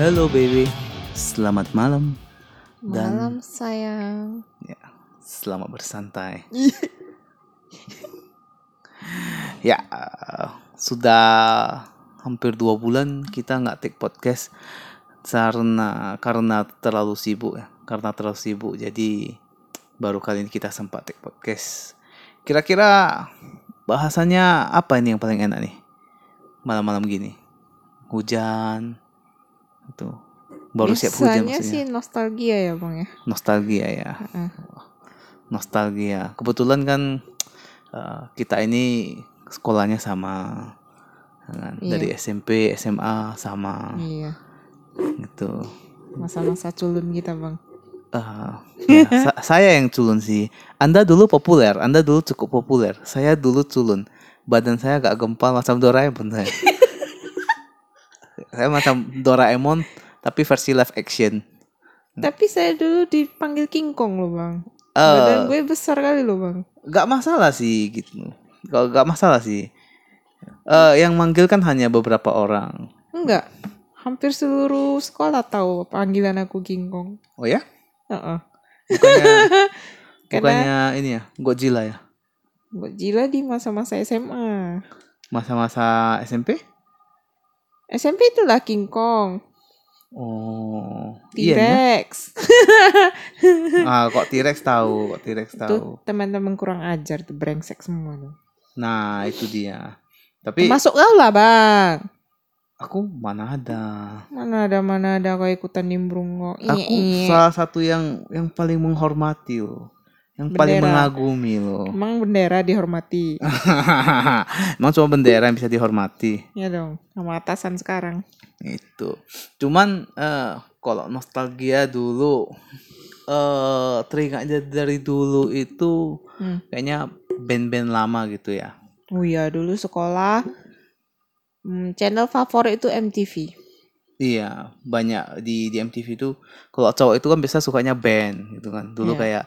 Halo baby, selamat malam. Malam sayang. Ya, selamat bersantai. ya, eh, sudah hampir dua bulan kita nggak take podcast karena karena terlalu sibuk ya, karena terlalu sibuk. Jadi baru kali ini kita sempat take podcast. Kira-kira bahasannya apa ini yang paling enak nih malam-malam gini? Hujan, itu baru siap hujan Biasanya maksudnya sih nostalgia ya bang ya. nostalgia ya Heeh. nostalgia kebetulan kan eh, kita ini sekolahnya sama kan? Iya. dari SMP SMA sama Iya. gitu Masa-masa culun kita bang. Eh, ya, sa- saya yang culun sih Anda dulu populer Anda dulu cukup populer saya dulu culun badan saya agak gempal macam Doraemon saya saya macam Doraemon tapi versi live action Tapi saya dulu dipanggil King Kong loh bang. Hmm. Eh, Badan gue besar kali loh bang. gak masalah sih gitu kalau gak masalah sih Eh yang manggil kan hanya beberapa orang Enggak. Hampir seluruh sekolah tahu panggilan aku King Kong. oh ya Heeh. bukannya Karena- bukannya ini ya Godzilla ya Godzilla di masa-masa SMA. masa-masa SMP SMP itulah King Kong, oh iya T-Rex. nih. ah kok T-Rex tahu kok T-Rex tahu Tuh teman-teman kurang ajar tuh brengsek semua tuh. nah itu dia tapi Masuk kau lah bang. aku mana ada Mana ada mana ada kau ikutan nimbrung kok. Iya, aku salah satu yang yang paling menghormati loh yang paling Bendera. mengagumi loh Emang bendera dihormati. Ah. emang cuma bendera yang bisa dihormati ya dong, sama atasan sekarang. itu Gitu. cuman eh kalau nostalgia dulu eh teringatnya dari dulu itu Hmm. kayaknya band-band lama gitu ya Oh iya, dulu sekolah hmm, channel favorit itu MTV. iya banyak di di MTV itu kalau cowok itu kan biasa sukanya band gitu kan dulu kayak Iya.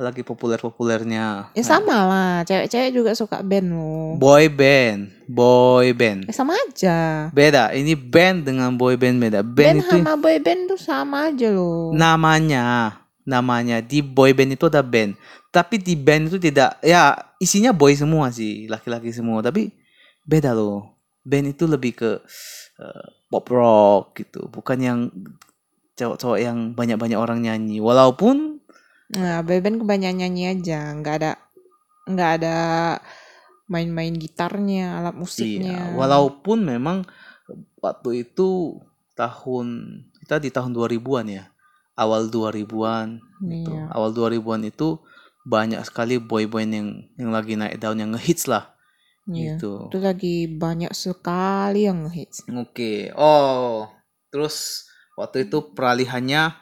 lagi populer-populernya Nah, Ya sama lah, cewek-cewek juga suka band loh. boy band boy Ya band sama aja. beda ini band dengan boy band beda band Band, itu Nah. sama boy band tuh sama aja loh. namanya namanya di boy band itu ada band tapi di band itu tidak ya isinya boy semua sih laki-laki semua tapi beda loh band itu lebih ke eh, pop rock gitu bukan yang cowok-cowok yang banyak-banyak orang nyanyi walaupun Nah, boy band kebanyakan nyanyi aja, nggak ada nggak ada main-main gitarnya, alat musiknya. iya walaupun memang waktu itu tahun kita di tahun 2000-an ya awal 2000-an gitu. Iya. Awal 2000-an itu banyak sekali boy-boy yang yang lagi naik daun yang ngehits lah Iya. gitu. Itu lagi banyak sekali yang ngehits. Oke. Oh, terus waktu itu peralihannya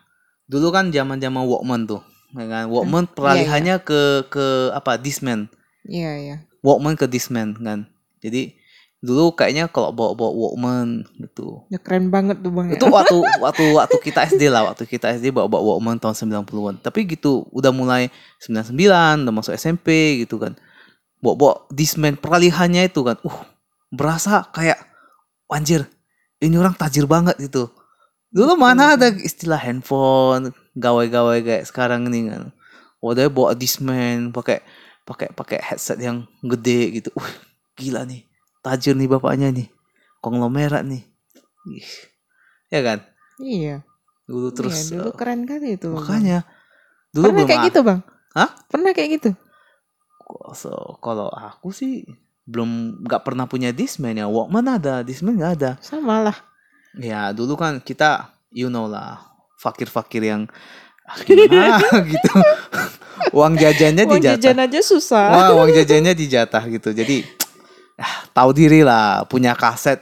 dulu kan zaman-zaman Walkman tuh. ya kan? Walkman peralihannya ke ke apa? Discman. Iya, iya. Walkman ke Discman kan. Jadi dulu kayaknya kalau bawa-bawa Walkman gitu. Ya keren banget tuh Bang. ya. Itu waktu waktu waktu kita SD lah, waktu kita SD bawa-bawa Walkman tahun 90-an. Tapi gitu udah mulai 99, udah masuk SMP gitu kan. Bawa-bawa Discman peralihannya itu kan. Uh, berasa kayak anjir, ini orang tajir banget gitu. Dulu mana ada istilah handphone, gawai-gawai kayak sekarang ini kan. Udah bawa Discman pakai pakai pakai headset yang gede gitu. Uh, gila nih. Tajir nih bapaknya nih. Konglomerat nih. Ih, Ya kan? Iya. dulu terus Iya, dulu eh, keren kali itu. Bang. makanya dulu Pernah belum kayak a- gitu, Bang? Hah? Pernah kayak gitu? ko- so, kalau aku sih belum nggak pernah punya discman ya walkman ada discman nggak ada Sama lah. ya dulu kan kita you know lah fakir-fakir yang ah, gimana gitu uang jajannya Uang dijatah jajan aja susah. Eh, wah uang jajannya dijatah gitu jadi ah, tahu diri lah punya kaset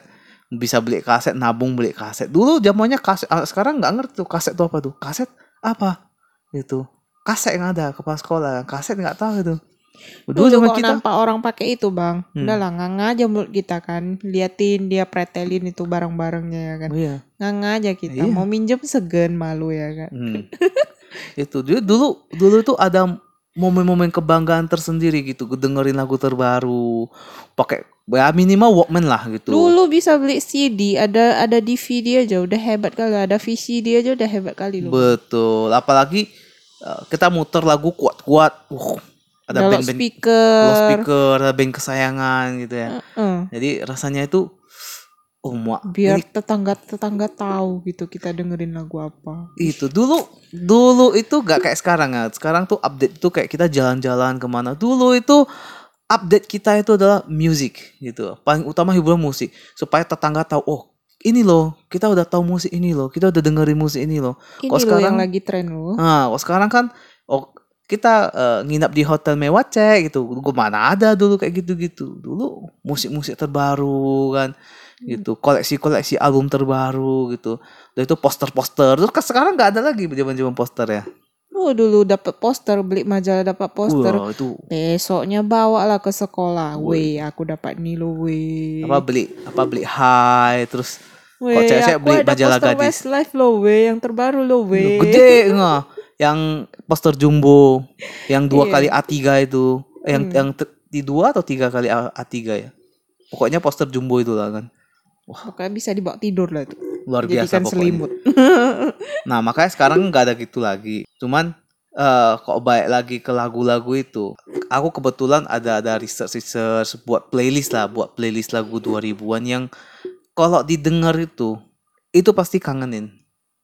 bisa beli kaset nabung beli kaset dulu zamannya kaset ah, sekarang nggak ngerti tuh kaset itu apa tuh kaset apa gitu kaset yang ada kepala sekolah kaset nggak tahu itu dulu Dulu zaman kok kita nampak orang pakai itu, Bang. Hmm. Udah lah, nganga aja mulut kita kan. Liatin dia pretelin itu barang-barangnya ya kan. Oh, iya. Nganga aja kita. Iya. Mau minjem segen malu ya kan. Hmm. itu dulu dulu dulu tuh ada momen-momen kebanggaan tersendiri gitu dengerin lagu terbaru pakai ya minimal Walkman lah gitu. Dulu bisa beli CD, ada ada DVD aja udah hebat kali, ada VCD aja udah hebat kali loh. Betul. Apalagi eh, kita muter lagu kuat-kuat. Uh, ada Ada band-band speaker. loud speaker, ada band kesayangan gitu ya. Heeh. Jadi rasanya itu oh muak. Eh, biar Ini- tetangga-tetangga tahu gitu kita dengerin lagu apa. itu dulu dulu itu gak kayak sekarang ya. Sekarang tuh update tuh kayak kita jalan-jalan kemana. Dulu itu update kita itu adalah music gitu. Paling utama hiburan musik supaya tetangga tahu oh ini loh kita udah tahu musik ini loh kita udah dengerin musik ini loh. Ini Kok loh sekarang- yang lagi tren loh. Nah, kalau sekarang kan oh, kita eh, nginap di hotel mewah cek gitu. Gue mana ada dulu kayak gitu-gitu. Dulu musik-musik terbaru kan Hmm. gitu, koleksi-koleksi album terbaru gitu. Dan itu poster-poster. Terus kan sekarang nggak ada lagi zaman-zaman poster ya. Oh dulu dapat poster, beli majalah dapat poster. Wah, itu Besoknya bawalah ke sekolah. Wih. Weh, aku dapat Nilo weh. apa beli apa beli high terus Weh, Kalau cewek-cewek aku beli ada majalah poster gadis. Westlife loh weh, yang terbaru loh weh. gede nggak yang poster jumbo yang dua Iya. kali A3 itu Eh, yang Hmm. yang te- di dua atau tiga kali A- A3 ya pokoknya poster jumbo itu lah kan Pokoknya bisa dibawa tidur lah tuh. luar biasa Jadikan pokoknya. selimut. Nah makanya sekarang nggak ada gitu lagi. Cuman eh kok baik lagi ke lagu-lagu itu. Aku kebetulan ada ada research research buat playlist lah, buat playlist lagu 2000-an yang kalau didengar itu itu pasti kangenin.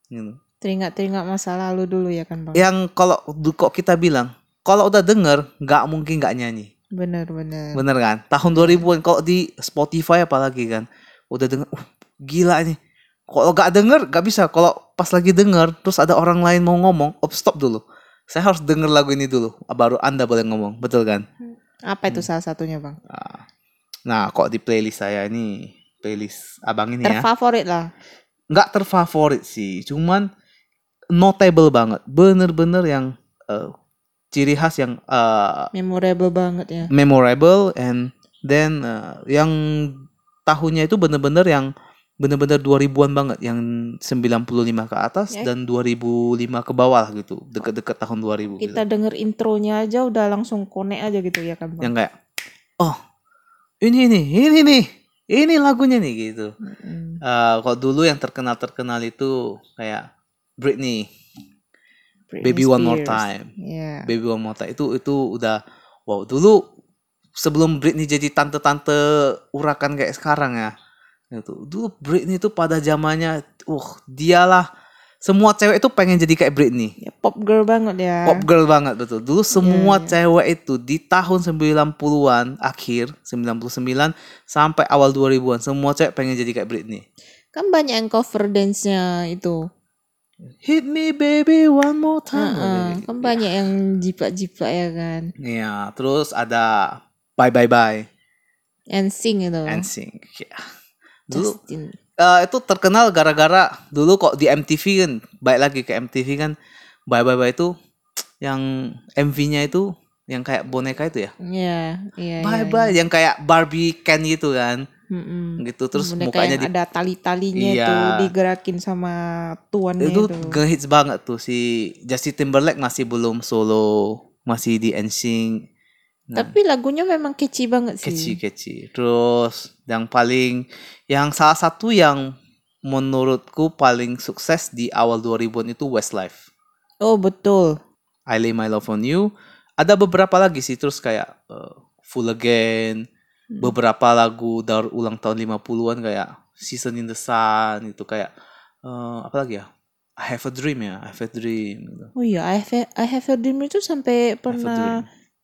Gitu. Teringat-teringat masa lalu dulu ya kan bang. Yang kalau du- kok kita bilang kalau udah denger nggak mungkin nggak nyanyi. Bener-bener. Bener kan? Tahun 2000-an kalau di Spotify apalagi kan udah denger uh, gila nih. Kalau gak denger gak bisa. Kalau pas lagi denger terus ada orang lain mau ngomong, oh, stop dulu. Saya harus denger lagu ini dulu baru Anda boleh ngomong. Betul kan? Apa itu salah satunya bang? Ah. Nah, kok di playlist saya ini playlist Abang ini ya. Terfavorit lah. nggak terfavorit sih, cuman notable banget. Bener-bener yang eh, ciri khas yang eh, Memorable banget ya. memorable and then uh, yang tahunnya itu bener-bener yang bener-bener 2000-an banget yang 95 ke atas Ya. dan 2005 ke bawah lah gitu deket-deket tahun 2000 gitu. Kita denger intronya aja udah langsung connect aja gitu ya kan bang. yang kayak oh ini nih ini nih ini lagunya nih gitu Mm-mm. Eh kalau dulu yang terkenal terkenal itu kayak Britney, Britney Baby One More Spears. Time Iya. Baby One More Time itu itu udah wow dulu sebelum Britney jadi tante-tante urakan kayak sekarang ya itu dulu Britney itu pada zamannya uh dialah semua cewek itu pengen jadi kayak Britney Ya, pop girl banget ya. pop girl banget betul dulu semua iya. cewek itu di tahun 90-an akhir 99 sampai awal 2000-an semua cewek pengen jadi kayak Britney Kan banyak yang cover dance-nya itu. hit me baby one more time gitu. Heeh, Kan banyak yang jiplak-jiplak ya kan. Iya, terus ada bye bye bye And sing itu. and sing iya. Ya. dulu Justin. Eh, itu terkenal gara-gara dulu kok di MTV kan baik lagi ke MTV kan bye bye bye itu yang MV-nya itu yang kayak boneka itu ya Iya, iya. bye iya, bye yang kayak Barbie Ken gitu kan iya. Mm-mm. gitu terus Boneka mukanya yang di ada tali-talinya Iya. itu digerakin sama tuannya itu itu. ngehits banget tuh si Justin Timberlake masih belum solo masih di NSYNC Nah, Tapi lagunya memang catchy banget sih. catchy catchy terus yang paling yang salah satu yang menurutku paling sukses di awal 2000-an itu Westlife Oh, betul. I Lay My Love on You. Ada beberapa lagi sih terus kayak uh, Full Again, Hmm. beberapa lagu daur ulang tahun 50-an kayak Season in the Sun itu kayak uh, apa lagi ya? I Have a Dream ya, I Have a Dream. gitu. Oh iya, I have, I have a dream itu I Have a sampai Dream. pernah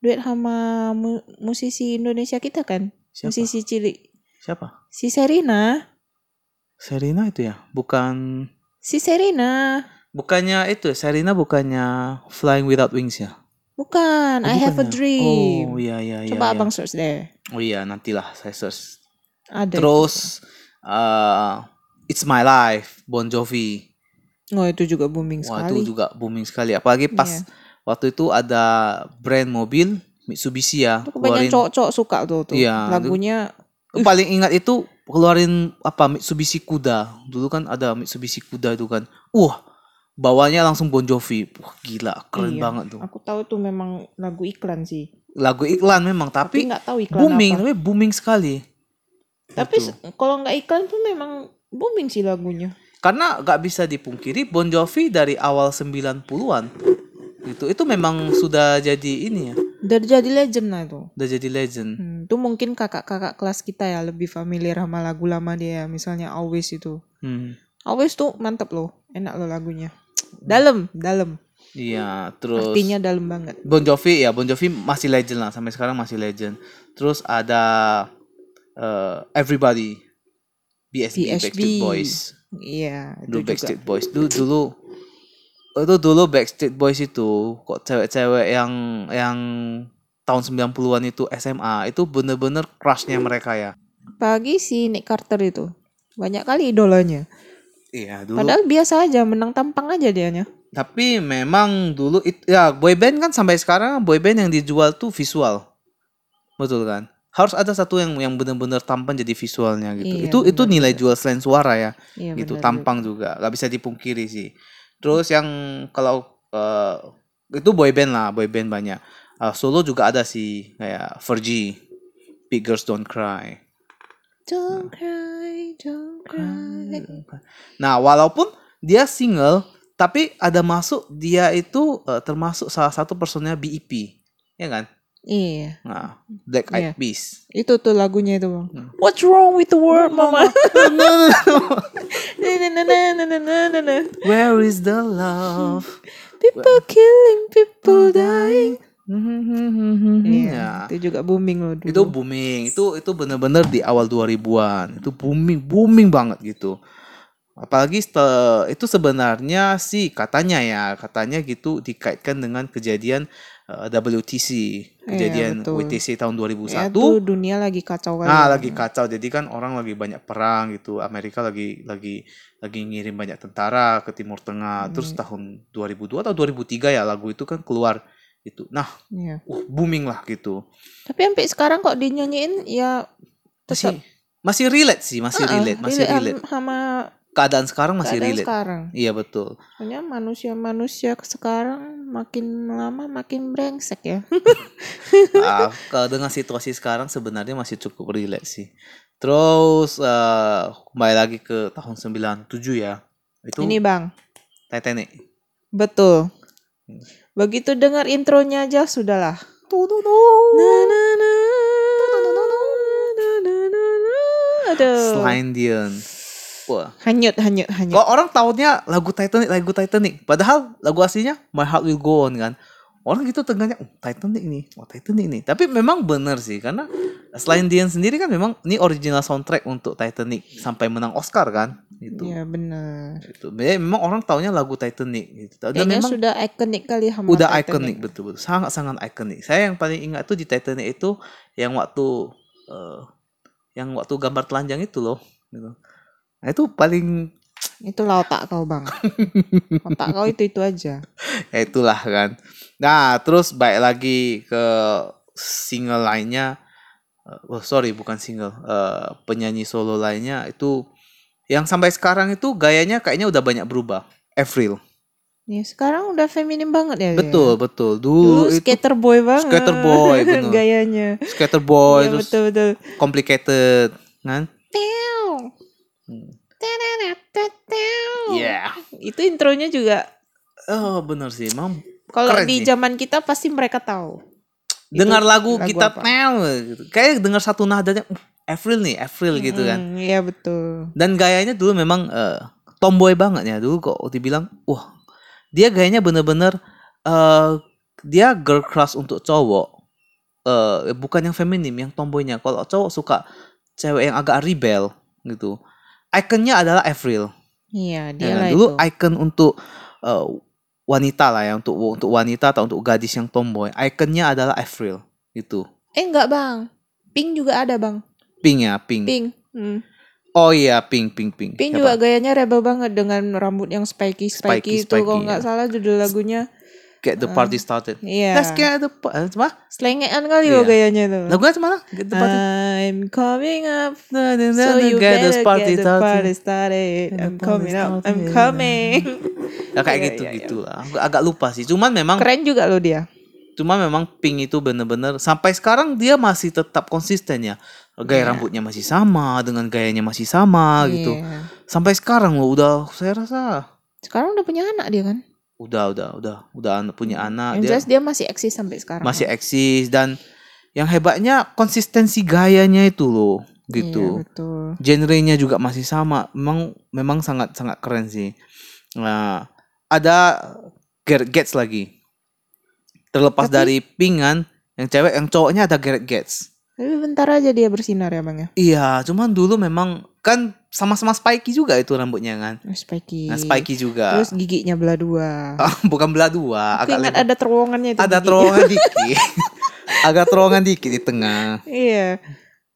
duet sama mu- musisi Indonesia kita kan? Siapa? Musisi cilik. Siapa? Si Serina, Serena itu ya? Bukan si Serina. bukannya itu ya, Serena bukannya Flying Without Wings ya? Bukan, Oh, I have a bukan ya? dream. Oh iya iya iya. Coba iya. Abang search deh. Oh iya, nantilah saya search. Ada. Terus uh, It's My Life, Bon Jovi. itu. Oh, itu juga booming Wah sekali. itu juga booming sekali. Apalagi pas Iya. waktu itu ada brand mobil Mitsubishi ya Itu kebanyakan keluarin. cowok-cowok suka tuh tuh. Iya, itu- Lagunya Paling ingat itu keluarin apa Mitsubishi kuda. Dulu kan ada Mitsubishi kuda itu kan. Wah bawanya langsung Bon Jovi. Wah gila keren Iya. banget tuh. aku tahu itu memang lagu iklan sih. Lagu iklan memang Tapi tapi, nggak tahu iklan booming apa. tapi booming sekali. Gitu. Tapi Betul. se- kalau nggak iklan tuh memang booming sih lagunya. karena gak bisa dipungkiri Bon Jovi dari awal 90-an gitu itu memang sudah jadi ini ya Udah jadi legend lah itu. udah jadi legend Hmm, itu mungkin kakak-kakak kelas kita ya lebih familiar sama lagu lama dia, ya. misalnya Always itu. Hmm. Always tuh mantep loh, enak loh lagunya. Dalam, dalam. iya terus Artinya dalam banget. Bon Jovi ya Bon Jovi masih legend lah sampai sekarang masih legend terus ada eh, Everybody BSB, BSB. Backstreet Boys Iya, itu dulu juga. Backstreet Boys dulu dulu itu dulu Backstreet Boys itu kok cewek-cewek yang yang tahun 90-an itu SMA itu bener-bener crushnya mereka ya Pagi si Nick Carter itu. Banyak kali idolanya. iya dulu Padahal biasa aja, menang tampang aja dianya. tapi memang dulu it, ya boyband kan sampai sekarang boyband yang dijual tuh visual betul kan harus ada satu yang yang benar-benar tampan jadi visualnya gitu Iya, itu itu benar, nilai jual selain suara ya Iya, gitu benar. tampang juga nggak bisa dipungkiri sih terus yang kalau eh, itu boyband lah boyband banyak Eh, solo juga ada sih kayak Fergie Big Girls Don't Cry Don't cry, don't cry. Nah, walaupun dia single, tapi ada masuk dia itu eh, termasuk salah satu personnya BEP, ya kan? Iya, Nah, Black Eyed Iya. Peas. itu tuh lagunya itu, Bang. Hmm. What's wrong with the world, mama? Nah, Where is the love? People killing, people dying. Ya. Iya, itu juga booming loh dulu. Itu booming. Itu itu bener-bener di awal 2000-an. Itu booming, booming banget gitu. Apalagi setel- itu sebenarnya sih katanya ya, katanya gitu dikaitkan dengan kejadian eh, WTC, kejadian betul. WTC tahun 2001. ya, tuh dunia lagi kacau kali. Nah, lagi kacau. Jadi kan orang lagi banyak perang gitu. Amerika lagi lagi lagi ngirim banyak tentara ke Timur Tengah. Hmm. Terus tahun 2002 atau 2003 ya lagu itu kan keluar itu. Nah, Iya. uh, booming lah gitu. Tapi sampai sekarang kok dinyanyiin ya Masih tetap masih relate sih, masih Ah, relate, masih am- relate. sama Keadaan sekarang masih keadaan relate. sekarang. Iya betul. Pokoknya manusia-manusia ke sekarang makin lama makin brengsek ya. Ah, kalau dengan situasi sekarang sebenarnya masih cukup relate sih. Terus eh, kembali lagi ke tahun 97 ya. Itu Ini Bang, Titanic. betul. Hmm. Begitu dengar intronya aja sudahlah. Na, na, na, na, na, na, na. Aduh. Selain Dion. Wah. Hanyut, hanyut, hanyut. Iya. Kalau orang taunya lagu Titanic, lagu Titanic. Padahal lagu aslinya My Heart Will Go On kan. Orang gitu tengahnya, oh, Titanic nih, oh Titanic nih. Tapi memang benar sih, karena selain Dian sendiri kan memang ini original soundtrack untuk Titanic sampai menang Oscar kan, gitu. Ya benar. Gitu. Jadi Memang orang taunya lagu Titanic. Gitu. Dan Kayaknya memang sudah ikonik kali ya sama udah Titanic. ikonik betul betul, sangat sangat ikonik. Saya yang paling ingat tuh di Titanic itu yang waktu eh, yang waktu gambar telanjang itu loh. Gitu. Nah itu paling Itulah otak kau bang. otak kau itu itu aja. Ya itulah kan. Nah, terus baik lagi ke single lainnya. Eh, Oh, sorry, bukan single. Eh, penyanyi solo lainnya itu yang sampai sekarang itu gayanya kayaknya udah banyak berubah. Avril. Ya sekarang udah feminim banget ya. dia. Betul, betul. Dulu Dulu, itu skater boy banget. Skater boy, bener. Gayanya. skater boy Iya, terus betul betul. complicated kan? Teow. Hmm. Iya. Tenenetet, teow. Yeah. Itu intronya juga. Oh, bener sih. Emang Kalau Keren di sih. zaman kita pasti mereka tahu. Itu dengar lagu, lagu kita apa? tnel gitu. Kayak dengar satu nadanya "Uh, Avril nih, Avril gitu kan. Hmm, Iya betul. dan gayanya dulu memang eh, tomboy banget ya dulu kok dibilang wah dia gayanya bener-bener eh, dia girl crush untuk cowok Eh, bukan yang feminim yang tomboynya kalau cowok suka cewek yang agak rebel gitu ikonnya adalah Avril Iya ya dia kan? lah dulu itu. icon untuk eh, wanita lah ya untuk untuk wanita atau untuk gadis yang tomboy ikonnya adalah Avril gitu Eh enggak bang. Pink juga ada bang. pink ya pink, Pink. Hmm. oh iya pink pink pink Pink Siapa? juga gayanya rebel banget dengan rambut yang spiky Spiky, spiky, itu kalau spiky, nggak ya. salah judul lagunya get the party started iya Let's get the pa- eh, apa? selengean kali loh Iya. gayanya itu Lagunya mana? Get the Ah. party. I'm coming up So so you get better the party get the started. party started Get the I'm party coming up I'm started. coming Ya, kayak Iya, gitu iya, iya. gitu lah. Aku agak lupa sih. Cuman memang keren juga loh dia Cuma memang Pink itu bener-bener sampai sekarang dia masih tetap konsisten ya. Gaya Iya. rambutnya masih sama, dengan gayanya masih sama gitu. Iya. Sampai sekarang loh udah saya rasa Sekarang udah punya anak dia kan? udah udah udah udah an- punya anak Ah, Hmm. Yang dia jelas dia masih eksis sampai sekarang. masih eksis dan yang hebatnya konsistensi gayanya itu loh Iya, gitu. betul. Genrenya juga masih sama. Memang memang sangat sangat keren sih. Nah, ada Gareth Gates lagi. Terlepas Tapi- dari pingan yang cewek yang cowoknya ada Gareth Gates. Tapi bentar aja dia bersinar ya bang ya. Iya, cuman dulu memang kan sama-sama spiky juga itu rambutnya kan. Oh, Spiky. Nah, spiky juga. Terus giginya belah dua. Bukan belah dua, Ah, Aku agak ingat lebar. ada terowongannya itu. ada giginya. terowongan dikit. agak terowongan dikit di tengah. Iya.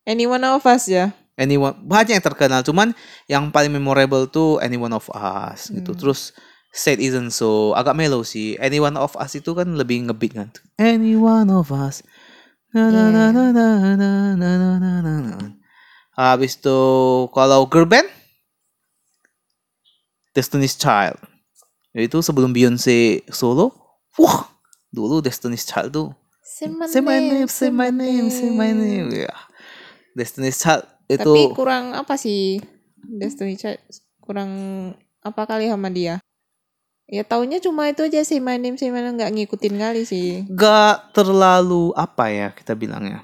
Anyone of us ya. Anyone banyak yang terkenal cuman yang paling memorable tuh Anyone of Us gitu. Hmm. Terus Sad Isn't So agak mellow sih. Anyone of Us itu kan lebih ngebeat kan. Anyone of Us. Na na na na na na na na na na na. Habis itu kalau girl band Destiny's Child. Yaitu sebelum Beyonce solo. Wah, dulu Destiny's Child tuh Say my, Say my name, say my name, say my name. Ya. Destiny's Child itu Tapi kurang apa sih Destiny Child kurang apa kali sama dia? Ya taunya cuma itu aja sih my name say my name nggak ngikutin kali sih. gak terlalu apa ya kita bilangnya.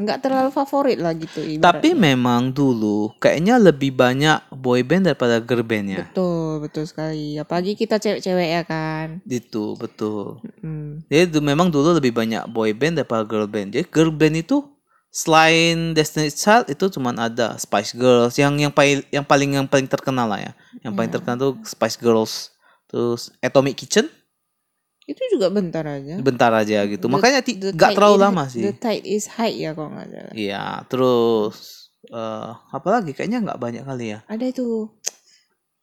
Nggak terlalu favorit lah gitu Tapi ibaratnya. memang dulu kayaknya lebih banyak boy band daripada girl band ya. betul betul sekali. Apalagi kita cewek-cewek ya kan. Itu Gitu, betul. Hmm. Jadi du- memang dulu lebih banyak boy band daripada girl band. Jadi girl band itu selain Destiny's Child itu cuman ada Spice Girls yang yang paling yang paling yang paling terkenal lah ya. Yang paling Ya. terkenal tuh Spice Girls, terus Atomic Kitchen Itu juga bentar aja. bentar aja gitu. The- Makanya ti- the gak tide terlalu is- lama The sih. tide is high ya kalau nggak salah. Iya, terus eh apa lagi kayaknya nggak banyak kali ya. Ada itu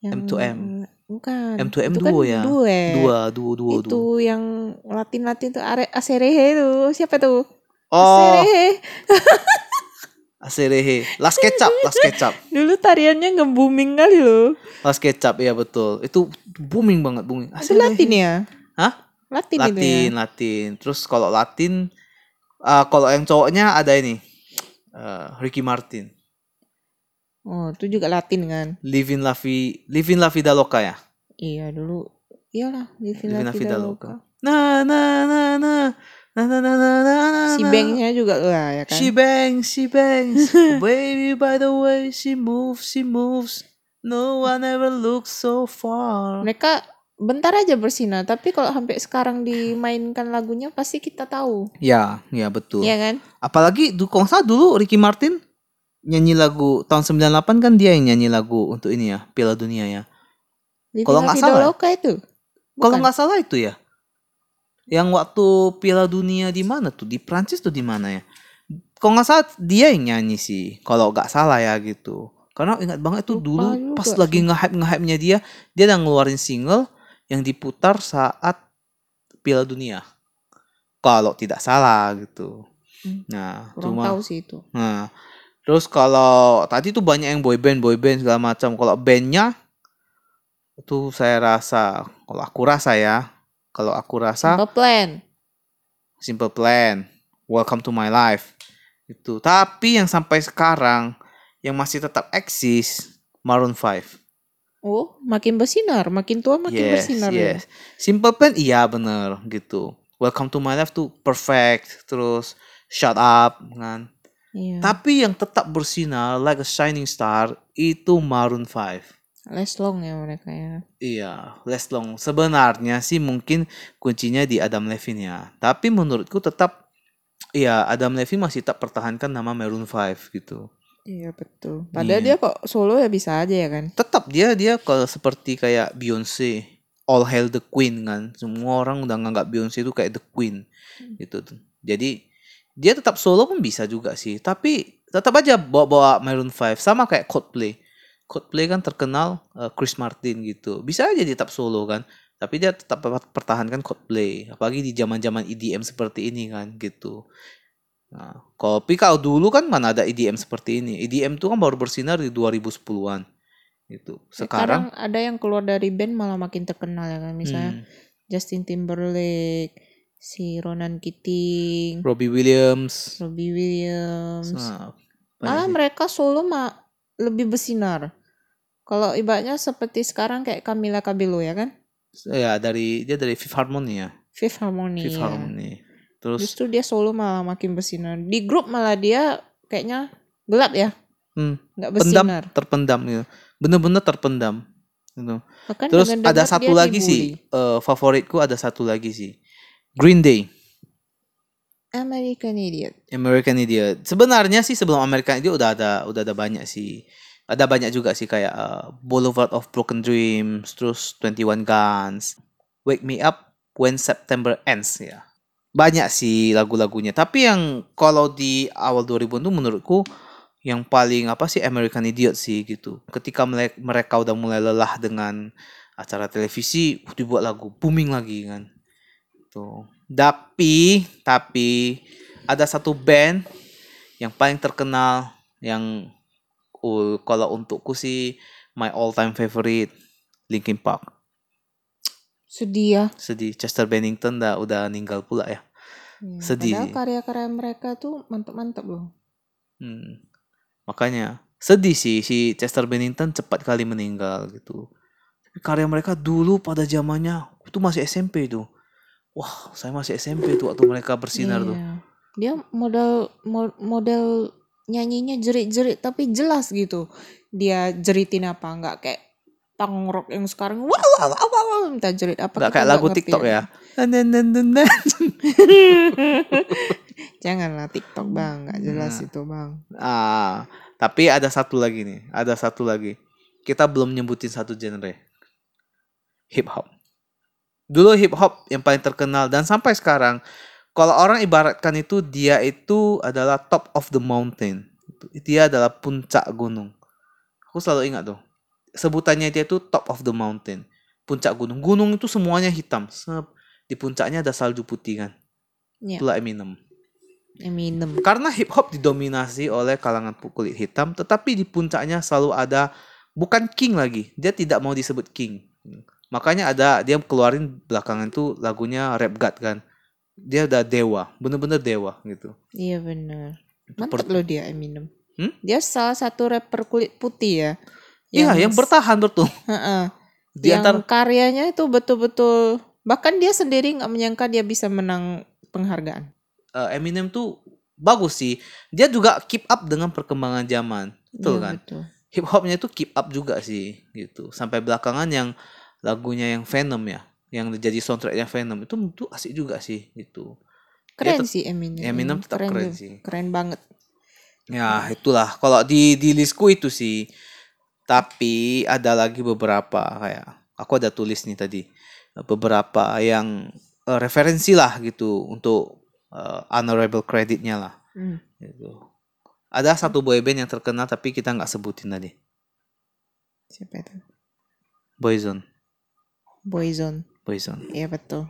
yang M2M. Bukan. M2M itu kan duo ya. duet. Dua, dua, dua, itu dua. yang Latin-Latin tuh Are Aserehe tuh. Siapa tuh? Oh, Aserehe. Aserehe. Last Ketchup, Last Ketchup. Dulu tariannya nge-booming kali loh. Last Ketchup, iya betul. Itu booming banget, booming. Itu Latin ya? Hah? Latin, itu ya. Latin, Latin. Terus kalau Latin, eh, kalau yang cowoknya ada ini. eh, Ricky Martin. Oh, itu juga Latin kan. Livin La, Vi- Livin La Vida Loca ya? Iya, dulu iyalah Living Livin La La Vida Vida Loca. Loca. Na, na, na, na. Na, na, na, na, na, na, Si na. Bengnya juga lah ya kan. She bangs, she bangs. Baby, by the way, she moves, she moves. No one ever looks so far. Mereka bentar aja bersinar, tapi kalau sampai sekarang dimainkan lagunya pasti kita tahu. Ya, ya betul. Iya kan? Apalagi du, kalau nggak salah dulu Ricky Martin nyanyi lagu tahun 98 kan dia yang nyanyi lagu untuk ini ya, Piala Dunia ya. Living Kalau La nggak Vida salah ya? Loca itu. Kalau Bukan. nggak salah itu ya. Yang waktu Piala Dunia di mana tuh? Di Prancis tuh di mana ya? Kalau nggak salah dia yang nyanyi sih. Kalau nggak salah ya gitu. Karena ingat banget tuh Lupa dulu juga pas lagi nge-hype nge-hype nya dia, dia udah ngeluarin single yang diputar saat Piala Dunia. Kalau tidak salah gitu. Hmm. Nah, Kurang cuma tahu sih itu. Nah, terus kalau tadi tuh banyak yang boy band, boy band segala macam. Kalau bandnya itu saya rasa, kalau aku rasa ya, kalau aku rasa Simple Plan. Simple Plan, Welcome to My Life itu. Tapi yang sampai sekarang yang masih tetap eksis Maroon 5. Oh, makin bersinar, makin tua makin yes, bersinar ya. yes. Simple Plan iya bener gitu. Welcome to My Life tuh perfect. Terus Shut Up kan. Iya. Tapi yang tetap bersinar like a shining star itu Maroon 5. Leslong ya mereka ya. Iya, Leslong. Sebenarnya sih mungkin kuncinya di Adam Levine ya. Tapi menurutku tetap ya Adam Levine masih tetap pertahankan nama Maroon 5 gitu. Iya betul. Iya. Padahal dia kok solo ya bisa aja ya kan. Tetap dia dia kalau seperti kayak Beyonce, All Hail the Queen kan. Semua orang udah nganggap Beyonce itu kayak the Queen Hmm. gitu. Jadi dia tetap solo pun bisa juga sih, tapi tetap aja bawa-bawa Maroon 5 sama kayak Coldplay. Coldplay kan terkenal eh, Chris Martin gitu. Bisa aja dia tetap solo kan, tapi dia tetap per- pertahankan Coldplay, apalagi di zaman-zaman EDM seperti ini kan gitu. Nah, kopi kalau dulu kan mana ada EDM seperti ini. EDM tuh kan baru bersinar di 2010-an gitu. Sekarang, Sekarang, ya, ada yang keluar dari band malah makin terkenal ya kan. hmm, Misalnya Justin Timberlake, si Ronan Keating, Robbie Williams. Robbie Williams. Nah, banyak Malah sih. mereka solo mah lebih bersinar. Kalau ibaratnya seperti sekarang kayak Camila Cabello ya kan? ya dari dia dari Fifth Harmony ya. Fifth Harmony. Fifth ya. Harmony. Terus Justru dia solo malah makin bersinar. Di grup malah dia kayaknya gelap ya, hmm, nggak pendam bersinar. terpendam gitu. Bener-bener terpendam. Gitu. Bahkan Terus dengar-dengar ada Kan dia satu lagi dibully. sih eh, favoritku ada satu lagi sih. Green Day, American Idiot. American Idiot. Sebenarnya sih sebelum American Idiot udah ada udah ada banyak sih. Ada banyak juga sih kayak eh, Boulevard of Broken Dreams, terus 21 Guns, Wake Me Up When September Ends ya. Banyak sih lagu-lagunya. Tapi yang kalau di awal 2000 itu menurutku yang paling apa sih American Idiot sih gitu. Ketika mele- mereka udah mulai lelah dengan acara televisi, uh, dibuat lagu booming lagi kan. Tuh. Tapi tapi ada satu band yang paling terkenal yang uh, kalau untukku sih my all time favorite Linkin Park. Sedih ya. Sedih Chester Bennington dah udah ninggal pula ya. Ya, Sedih Padahal sih. karya-karya mereka tuh mantep-mantep loh. Hmm. Makanya sedih sih si Chester Bennington cepat kali meninggal gitu. Tapi karya mereka dulu pada zamannya itu masih SMP tuh. Wah, saya masih SMP tuh waktu mereka bersinar tuh. Iya. Dia model mo- model nyanyinya jerit-jerit tapi jelas gitu. Dia jeritin apa nggak kayak punk rock yang sekarang wow wow wow, wow, wow, minta jerit apa Nggak kita kayak lagu ngerti TikTok ya. Dan, dan, dan, dan, dan. Janganlah TikTok bang, nggak jelas Nah. itu bang. Ah, tapi ada satu lagi nih, ada satu lagi. Kita belum nyebutin satu genre. Hip hop. Dulu hip hop yang paling terkenal dan sampai sekarang kalau orang ibaratkan itu dia itu adalah top of the mountain. Dia adalah puncak gunung. Aku selalu ingat tuh. Sebutannya dia itu top of the mountain. Puncak gunung. Gunung itu semuanya hitam. Sep. Di puncaknya ada salju putih kan. Iya. Itulah Eminem. Eminem. Karena hip hop didominasi oleh kalangan pu- kulit hitam, tetapi di puncaknya selalu ada bukan king lagi. Dia tidak mau disebut king. Makanya ada dia keluarin belakangan tuh lagunya rap god kan. Dia udah dewa, bener-bener dewa gitu. Iya bener. Mantep Seperti- loh dia Eminem. Hmm? Dia salah satu rapper kulit putih ya. Iya, yang bertahan betul. Heeh. Di yang antara karyanya itu betul-betul bahkan dia sendiri nggak menyangka dia bisa menang penghargaan. eh, Eminem tuh bagus sih. Dia juga keep up dengan perkembangan zaman. Betul Iya, kan? Betul. hip hopnya itu keep up juga sih gitu sampai belakangan yang lagunya yang Venom ya yang jadi soundtracknya Venom itu itu asik juga sih gitu tet- Keren sih Eminem. Eminem tetap keren, juga. sih Hmm, Keren banget. ya itulah kalau di di listku itu sih tapi ada lagi beberapa kayak aku ada tulis nih tadi beberapa yang eh, referensi lah gitu untuk eh, honorable creditnya lah Hmm. gitu ada satu boyband yang terkenal tapi kita nggak sebutin tadi Siapa itu? Boyzone Boyzone. Boyzone Iya betul.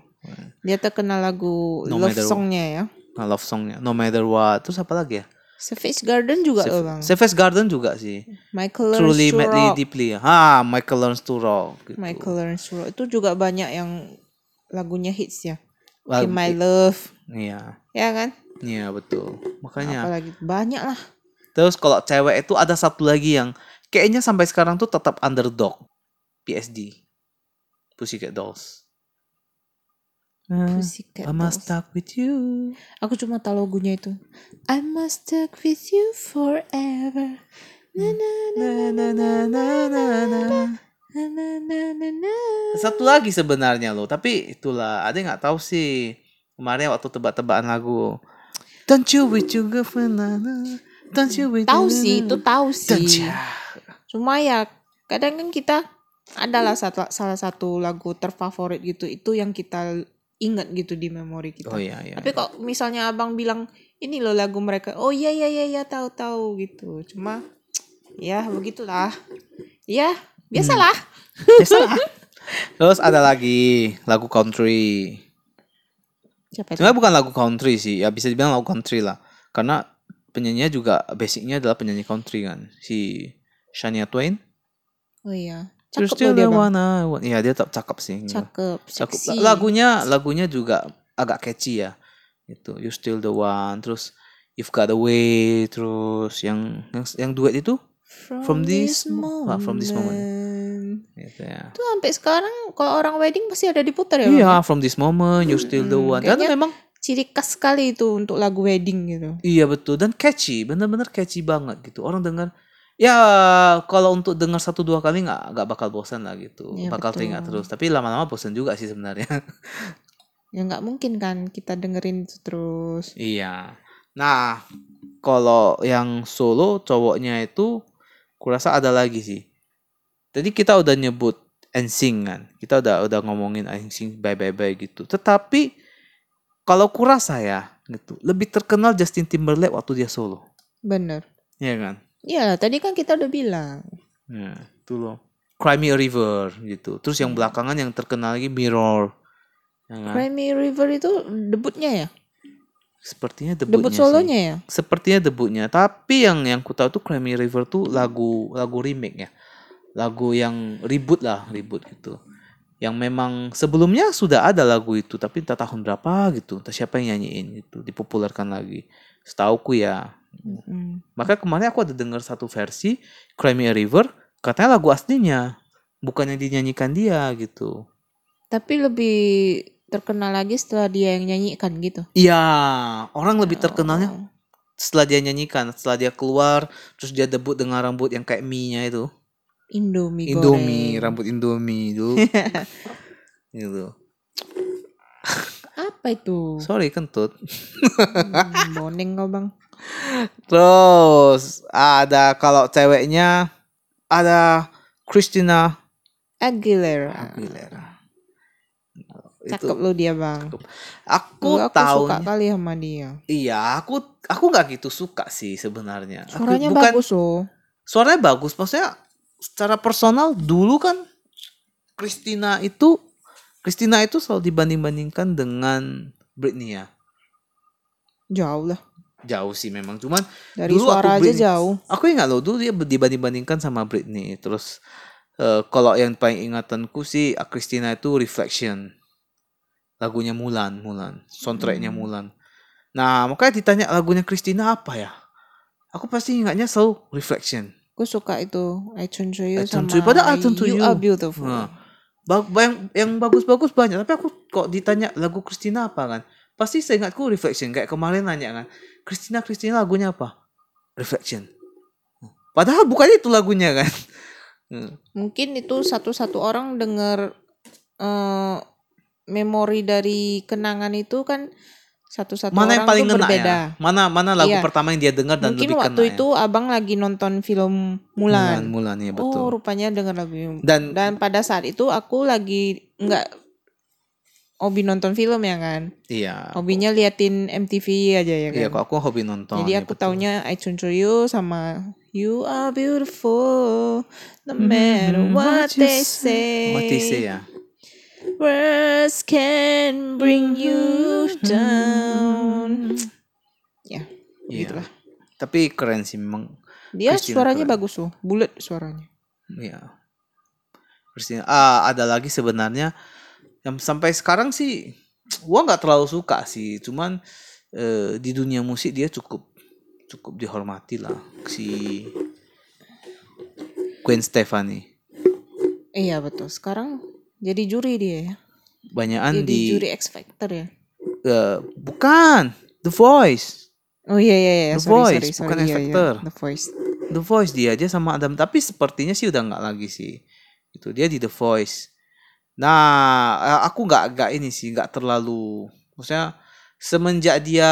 Dia terkenal lagu No love Matter What. songnya ya. Nah, love songnya No Matter What terus apa lagi ya Savage Garden juga Sav- loh bang. Savage Garden juga sih Michael Learns Truly to Madly Rock. Deeply ha Michael Learns to Rock gitu. Michael Learns to Rock itu juga banyak yang lagunya hits ya. Well, In My Love, iya ya kan? iya betul makanya Apalagi banyak lah. terus kalau cewek itu ada satu lagi yang kayaknya sampai sekarang tuh tetap underdog PSD Pussycat Dolls Ah, Pussycat I must Dolls. stuck with you Aku cuma tahu lagunya itu. I must stuck with you forever. Na na na Na, na, na na na, na, na, na. na na na na na. satu lagi sebenarnya loh tapi itulah ada yang nggak tahu sih kemarin waktu tebak-tebakan lagu don't you with your girlfriend na, na, na. don't you with Tahu your- sih, itu tahu Don't sih. ya. Cuma ya kadang kan kita adalah satu, salah satu lagu terfavorit gitu itu yang kita ingat gitu di memori oh kita. iya iya Tapi kok misalnya abang bilang ini loh lagu mereka, oh iya iya iya iya tahu tahu gitu. Cuma ya begitulah. Ya biasalah. Ya, salah. terus ada lagi lagu country Siapa itu? sebenarnya bukan lagu country sih ya bisa dibilang lagu country lah karena penyanyinya juga basicnya adalah penyanyi country kan si Shania Twain Oh iya. You're Cakep still loh dia the bang. one I want. Iya, dia tetap cakep sih Cakep. Cakep. Seksi. Lagunya lagunya juga agak catchy ya itu you still the one terus you've got away terus yang yang, yang duet itu From, From this mo- ah, moment. from this moment. gitu ya Itu sampai sekarang kalau orang wedding pasti ada diputar ya. Bang? iya from this moment you still the Mm-mm. one dan Kayaknya- memang Ciri khas sekali itu untuk lagu wedding gitu. iya betul dan catchy bener-bener catchy banget gitu orang dengar ya kalau untuk dengar satu dua kali nggak nggak bakal bosan lah gitu Iya, bakal betul. teringat terus tapi lama-lama bosan juga sih sebenarnya Ya nggak mungkin kan kita dengerin itu terus. Iya. Nah, kalau yang solo cowoknya itu kurasa ada lagi sih. Tadi kita udah nyebut NSYNC kan. Kita udah udah ngomongin NSYNC bye bye bye gitu. Tetapi kalau kurasa ya gitu, lebih terkenal Justin Timberlake waktu dia solo. Bener. Iya kan? Iya, tadi kan kita udah bilang. Nah, itu loh. Cry Me a River gitu. Terus Hmm. yang belakangan yang terkenal lagi Mirror. Ya kan? Cry Me River itu debutnya ya? Sepertinya debutnya Debut sih. solonya ya? sepertinya debutnya tapi yang yang ku tahu tuh Crimey River tuh lagu lagu remake ya lagu yang ribut lah ribut gitu yang memang sebelumnya sudah ada lagu itu tapi entah tahun berapa gitu entah siapa yang nyanyiin gitu dipopulerkan lagi setauku ya Mm. maka kemarin aku ada dengar satu versi Crimey River katanya lagu aslinya bukan yang dinyanyikan dia gitu Tapi lebih terkenal lagi setelah dia yang nyanyikan gitu. iya orang lebih terkenalnya Oh. setelah dia nyanyikan setelah dia keluar terus dia debut dengan rambut yang kayak mie-nya itu Indomie, Indomie, goreng. rambut Indomie itu. gitu. Apa itu? Sorry kentut. Hmm, boneng kau bang. Terus ada kalau ceweknya ada Christina Aguilera. Aguilera. Itu Cakep lu dia bang. aku, Dulu aku tahu. suka kali ya sama dia. Iya, aku aku nggak gitu suka sih sebenarnya. Aku- Suaranya bukan, bagus loh. Suaranya bagus, maksudnya secara personal dulu kan Christina itu Christina itu selalu dibanding-bandingkan dengan Britney ya. Jauh lah. Jauh sih memang, cuman Dari Dulu aku suara aja Britney. jauh. aku ingat loh dulu dia dibanding-bandingkan sama Britney terus eh, kalau yang paling ingatanku sih ah, Christina itu Reflection lagunya Mulan Mulan soundtracknya Hmm. Mulan nah makanya ditanya lagunya Christina apa ya aku pasti ingatnya selalu Reflection Aku suka itu I Turn to You I Turn sama to You. Padahal I Turn to You. Are Beautiful. Nah, ba- ba- yang yang bagus-bagus banyak tapi aku kok ditanya lagu Christina apa kan pasti saya ingatku Reflection kayak kemarin nanya kan Christina Christina lagunya apa Reflection padahal bukan itu lagunya kan Hmm. Mungkin itu satu-satu orang dengar eh, memori dari kenangan itu kan satu-satu mana yang orang paling tuh ngena berbeda. ya mana mana lagu Iya. pertama yang dia dengar dan Mungkin lebih waktu kena itu abang lagi nonton ya film Mulan Mulan. Mulan ya Oh, betul rupanya dengar lagu dan Dan pada saat itu aku lagi nggak hobi nonton film ya kan. iya Hobinya liatin MTV aja ya kan. iya kok aku hobi nonton Jadi ya aku betul. taunya I Turn to You sama You Are Beautiful No matter Mhm, what you they say what they say ya Words can bring you Hmm, down Ya Iya. gitulah tapi keren sih memang Dia Christina suaranya keren. bagus tuh Bulat suaranya Ya. Christina. Ah, ada lagi sebenarnya yang sampai sekarang sih gua nggak terlalu suka sih. Cuman eh, di dunia musik dia cukup cukup dihormati lah si Gwen Stefani. Iya betul Sekarang jadi juri dia ya Banyakan Jadi di juri X Factor ya eh, bukan The Voice. Oh iya iya iya The sorry, Voice, sorry, sorry. bukan Iya, X iya. Factor. The Voice The Voice dia aja sama Adam tapi sepertinya sih udah nggak lagi sih itu dia di The Voice nah eh, aku nggak nggak ini sih nggak terlalu maksudnya semenjak dia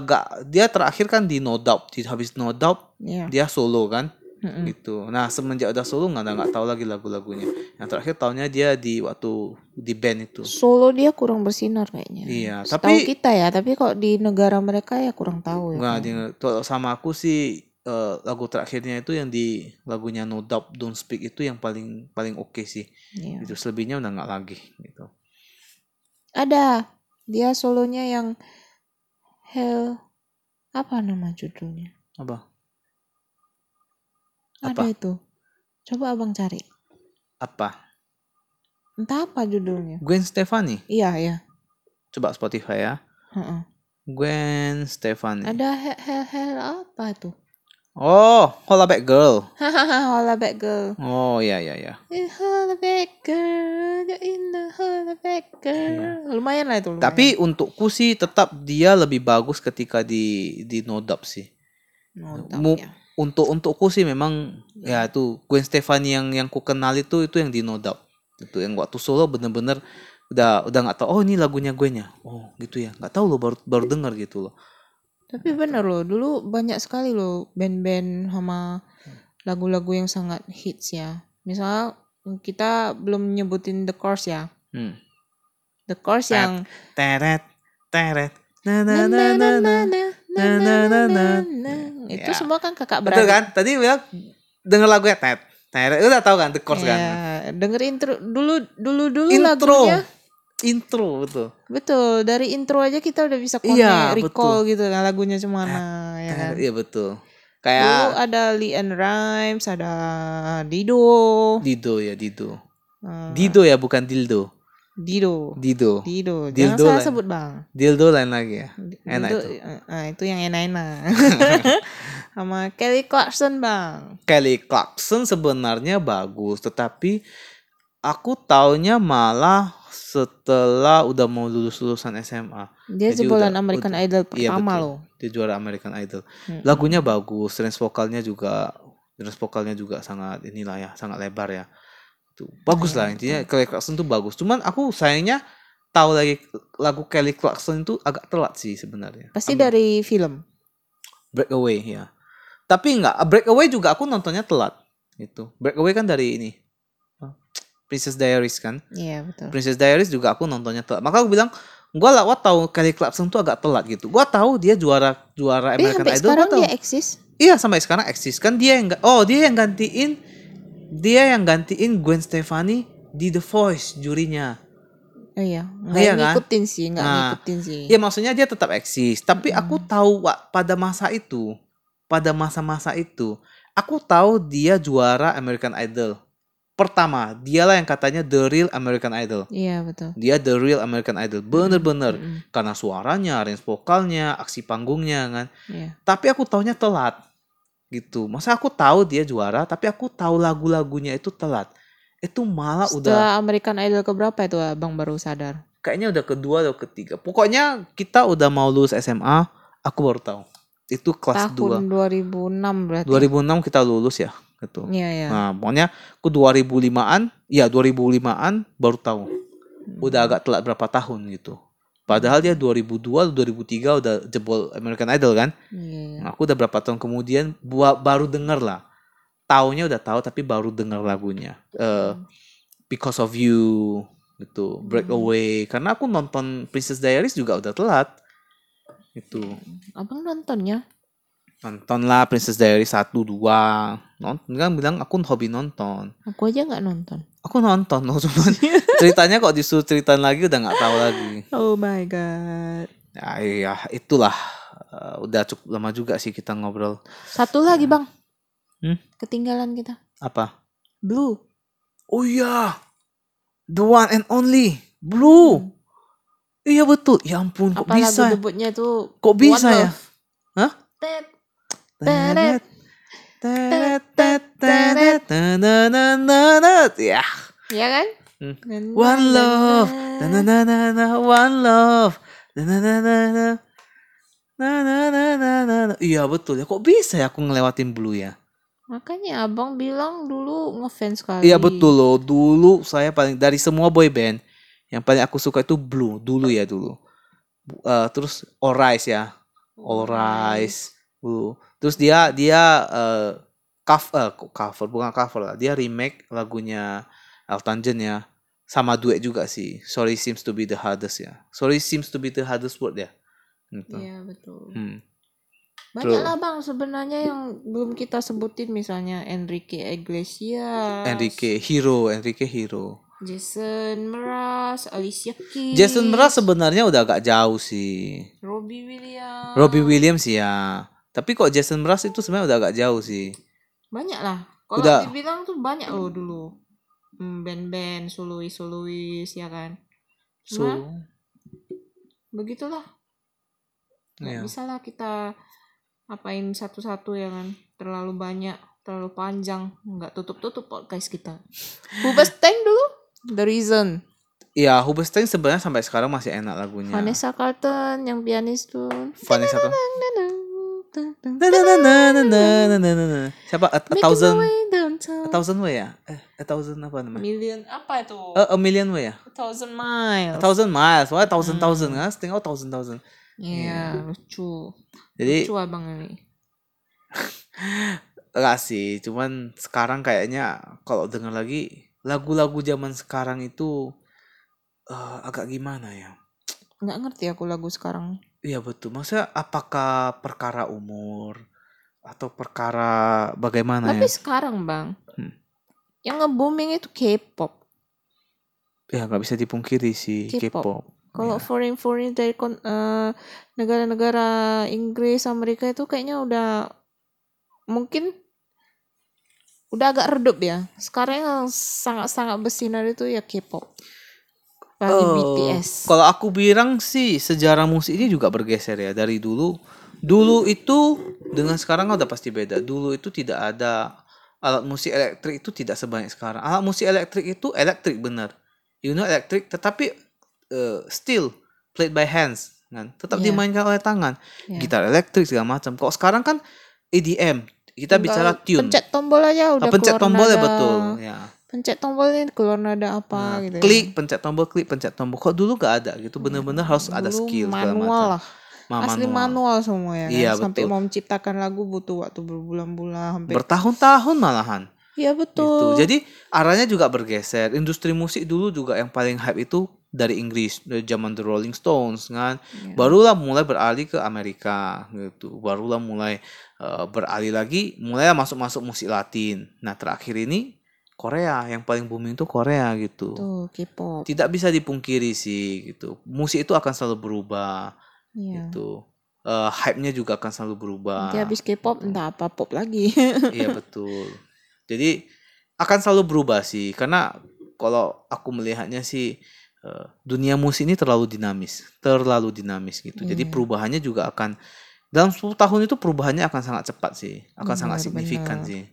nggak dia terakhir kan di No Doubt di habis No Doubt Iya dia solo kan Mm-mm. gitu nah semenjak udah solo nggak nggak tahu lagi lagu-lagunya yang terakhir tahunnya dia di waktu di band itu Solo dia kurang bersinar kayaknya. Iya, Setahu tapi- kita ya, tapi kalau di negara mereka ya kurang tahu ya. Nggak, kan. dia- kalau sama aku sih eh, lagu terakhirnya itu yang di lagunya No Doubt Don't Speak itu yang paling paling oke sih Iya. itu selebihnya udah nggak lagi gitu Ada dia solonya yang Hell apa nama judulnya? apa Ada Apa? itu. Coba abang cari. apa Entah apa judulnya. Gwen Stefani Iya ya. Coba Spotify ya. Heeh. Gwen Stefani. Ada hel hel hel apa tuh? Oh, Hollaback Girl. Hahaha, hollaback girl. Oh, ya ya ya. In hollaback girl, you're in the hollaback girl. Lumayan lah itu. Lumayan. Iya. Tapi untukku sih tetap dia lebih bagus ketika di di No Doubt sih. Notap mu- ya. Untuk untukku sih memang ya itu Gwen Stefani yang yang ku kenal itu itu yang di No Doubt. Itu yang waktu solo bener-bener udah udah nggak tahu oh ini lagunya Gwen ya. Oh, gitu ya. Nggak tahu loh baru baru dengar gitu loh. Tapi bener loh, dulu banyak sekali loh band-band sama lagu-lagu yang sangat hits ya. Misal kita belum nyebutin The Course ya. Hmm. The Course Tap. yang Teret teret na na na na na na. na na na na na. Ya. itu semua kan kakak Betul beradik. kan? Tadi bilang denger lagunya tet. Teret udah tahu kan the chords Ya, kan. denger intro dulu dulu dulu Intro. lagunya. Intro betul. Betul, dari intro aja kita udah bisa connect, Iya, recall gitu nah, lagunya cemana ya kan. Iya betul. Dulu Kayak ada Lee and Rhymes, ada Dido. Dido ya Dido. Eh, Dido ya bukan dildo. Dido. Dido. Dido. Jangan Dildo salah lah. sebut, Bang. Dildo lain lagi ya. Enak Dildo, itu. eh, eh, itu yang enak-enak. Sama Kelly Clarkson, Bang. Kelly Clarkson sebenarnya bagus, tetapi aku taunya malah setelah udah mau lulus lulusan SMA. Dia Jadi jebolan udah- American udah- Idol Iya pertama betul. loh. Dia juara American Idol. Mm-mm. Lagunya bagus, range vokalnya juga range vokalnya juga sangat inilah ya, sangat lebar ya. Tuh, bagus Nah, lah intinya Kelly Clarkson tuh bagus. Cuman aku sayangnya tahu lagi lagu Kelly Clarkson itu agak telat sih sebenarnya. Pasti Ambil dari film. Breakaway ya. Tapi enggak Breakaway juga aku nontonnya telat gitu. Breakaway kan dari ini. apa, Princess Diaries kan. Iya, betul. Princess Diaries juga aku nontonnya telat. Maka aku bilang gua lah gua tahu Kelly Clarkson tuh agak telat gitu. Gua tahu dia juara juara Tapi American sampai Idol gua sekarang tahu. dia eksis. Iya sampai sekarang eksis kan dia yang ga- oh dia yang gantiin dia yang gantiin Gwen Stefani di The Voice jurinya. Oh, iya, nggak Iya kan? ngikutin sih, nggak Nah, ngikutin sih. Ya maksudnya dia tetap eksis, tapi aku tahu Wak, pada masa itu, pada masa-masa itu, aku tahu dia juara American Idol. Pertama, dialah yang katanya the real American Idol. Iya, betul. Dia the real American Idol, bener-bener Mm-mm. karena suaranya, range vokalnya, aksi panggungnya kan. Iya. Tapi aku taunya telat gitu. Masa aku tahu dia juara, tapi aku tahu lagu-lagunya itu telat. Itu malah Ah, udah Setelah American Idol keberapa itu abang baru sadar? kayaknya udah kedua atau ketiga. Pokoknya kita udah mau lulus SMA, aku baru tahu. Itu kelas Tahun 2. 2006 berarti. 2006 kita lulus ya, gitu. Iya, iya. Nah, pokoknya aku 2005-an, ya 2005-an baru tahu. Hmm. Udah agak telat berapa tahun gitu. Padahal dia 2002 2003 udah jebol American Idol kan. Iya, iya. Aku udah berapa tahun kemudian buat baru denger lah. Taunya udah tahu tapi baru denger lagunya. Eh, Because of You gitu, Hmm. Breakaway. Karena aku nonton Princess Diaries juga udah telat. Itu. Abang ya? nontonnya? Nontonlah Princess Diaries 1 2. Nonton kan bilang aku hobi nonton. Aku aja nggak nonton. Aku nonton loh cuman ceritanya kok disuruh ceritain lagi udah nggak tahu lagi. Oh my god. Ya, iya, itulah Eh, udah cukup lama juga sih kita ngobrol. Satu lagi bang. Nah. Hmm? Ketinggalan kita. Apa? Blue. Oh iya. The one and only Blue. Hmm. Iya betul. Ya ampun kok Apa bisa. lagu ya? debutnya tuh? Kok bisa One ya? Hah? Tet. Teret. Teret. Teret, teret, teret, na, na, na, na, na. Ya. Ya kan? Hmm. Dan- One love. Na, na, na, na, na, One love. Na, na, na, na, na. Na, na, na, na, na, na. Iya betul ya. Kok bisa ya aku ngelewatin Blue ya? Makanya abang bilang dulu ngefans sekali. Iya betul loh. Dulu saya paling dari semua boy band yang paling aku suka itu Blue dulu ya dulu. Bu- eh, terus All Rise ya. All Iya. Rise. Blue. Terus dia dia eh, cover kok cover bukan cover lah. Dia remake lagunya Elton John ya. Sama duet juga sih. Sorry seems to be the hardest ya. Sorry seems to be the hardest word ya. Gitu. Iya betul. Hmm. Banyak lah bang sebenarnya yang belum kita sebutin misalnya Enrique Iglesias, Enrique Hero, Enrique Hero. Jason Mraz, Alicia Keys, Jason Mraz sebenarnya udah agak jauh sih. Robbie Williams. Robbie Williams ya. Tapi kok Jason Mraz itu sebenarnya udah agak jauh sih. Banyak lah. Kalau Udah. dibilang tuh banyak loh dulu. Hmm, Band-band, solois-solois ya kan. So, Cuma begitulah nggak Iya. bisa lah kita apain satu-satu ya kan terlalu banyak terlalu panjang nggak tutup-tutup podcast kita Bubas Tank dulu The Reason Iya, Hubestein sebenarnya sampai sekarang masih enak lagunya. Vanessa Carlton yang pianis tuh Vanessa Carlton. Na, na, na, na, na, na, na, na, na, na. Siapa? A, a thousand, a thousand way ya? Eh, a thousand apa namanya? million apa itu A, a million way ya? a A thousand miles thousand miles, wah Ah. thousand thousand kan? Setengah thousand thousand. Iya, lucu Jadi lucu abang ini enggak sih, cuman sekarang kayaknya kalau denger lagi lagu-lagu zaman sekarang itu eh, agak gimana ya? nggak ngerti aku lagu sekarang Iya betul. Maksudnya apakah perkara umur atau perkara bagaimana tapi ya? sekarang bang Hmm. yang nge-booming itu K-pop Ya nggak bisa dipungkiri sih K-pop. K-pop. Iya. Kalau foreign foreign dari kon- eh, negara-negara Inggris, Amerika itu kayaknya udah mungkin udah agak redup ya. Sekarang yang sangat-sangat bersinar itu ya K-pop. Bagi Eh, BTS. Kalau aku bilang sih sejarah musik ini juga bergeser ya dari dulu. Dulu itu dengan sekarang udah pasti beda. Dulu itu tidak ada alat musik elektrik itu tidak sebanyak sekarang. Alat musik elektrik itu elektrik benar. You know elektrik tetapi eh, still played by hands kan. Tetap Iya. dimainkan oleh tangan. Iya. Gitar elektrik segala macam. Kalau sekarang kan EDM kita Tinggal bicara tune. Pencet tombol aja udah Ah, pencet keluar tombol ya nada. betul ya. Pencet tombolnya keluar nada Nah, apa gitu. ya. klik pencet tombol klik pencet tombol kok dulu gak ada gitu bener-bener harus ada Hmm, Dulu skill segala manual macam lah. Asli manual semua ya. kan. Iya, Sampai betul. mau menciptakan lagu butuh waktu berbulan-bulan hampir. bertahun-tahun malahan Iya gitu betul. jadi arahnya juga bergeser industri musik dulu juga yang paling hype itu dari Inggris dari zaman The Rolling Stones kan Iya. barulah mulai beralih ke Amerika gitu barulah mulai eh, beralih lagi mulai masuk-masuk musik Latin nah terakhir ini Korea yang paling booming itu Korea gitu Tuh K-pop. tidak bisa dipungkiri sih gitu musik itu akan selalu berubah Iya. gitu Eh hype-nya juga akan selalu berubah Nanti habis K-pop entah apa pop lagi. iya betul jadi akan selalu berubah sih karena kalau aku melihatnya sih eh, dunia musik ini terlalu dinamis terlalu dinamis gitu jadi Iya. perubahannya juga akan dalam 10 tahun itu perubahannya akan sangat cepat sih akan sangat Benar, signifikan Iya, benar. sih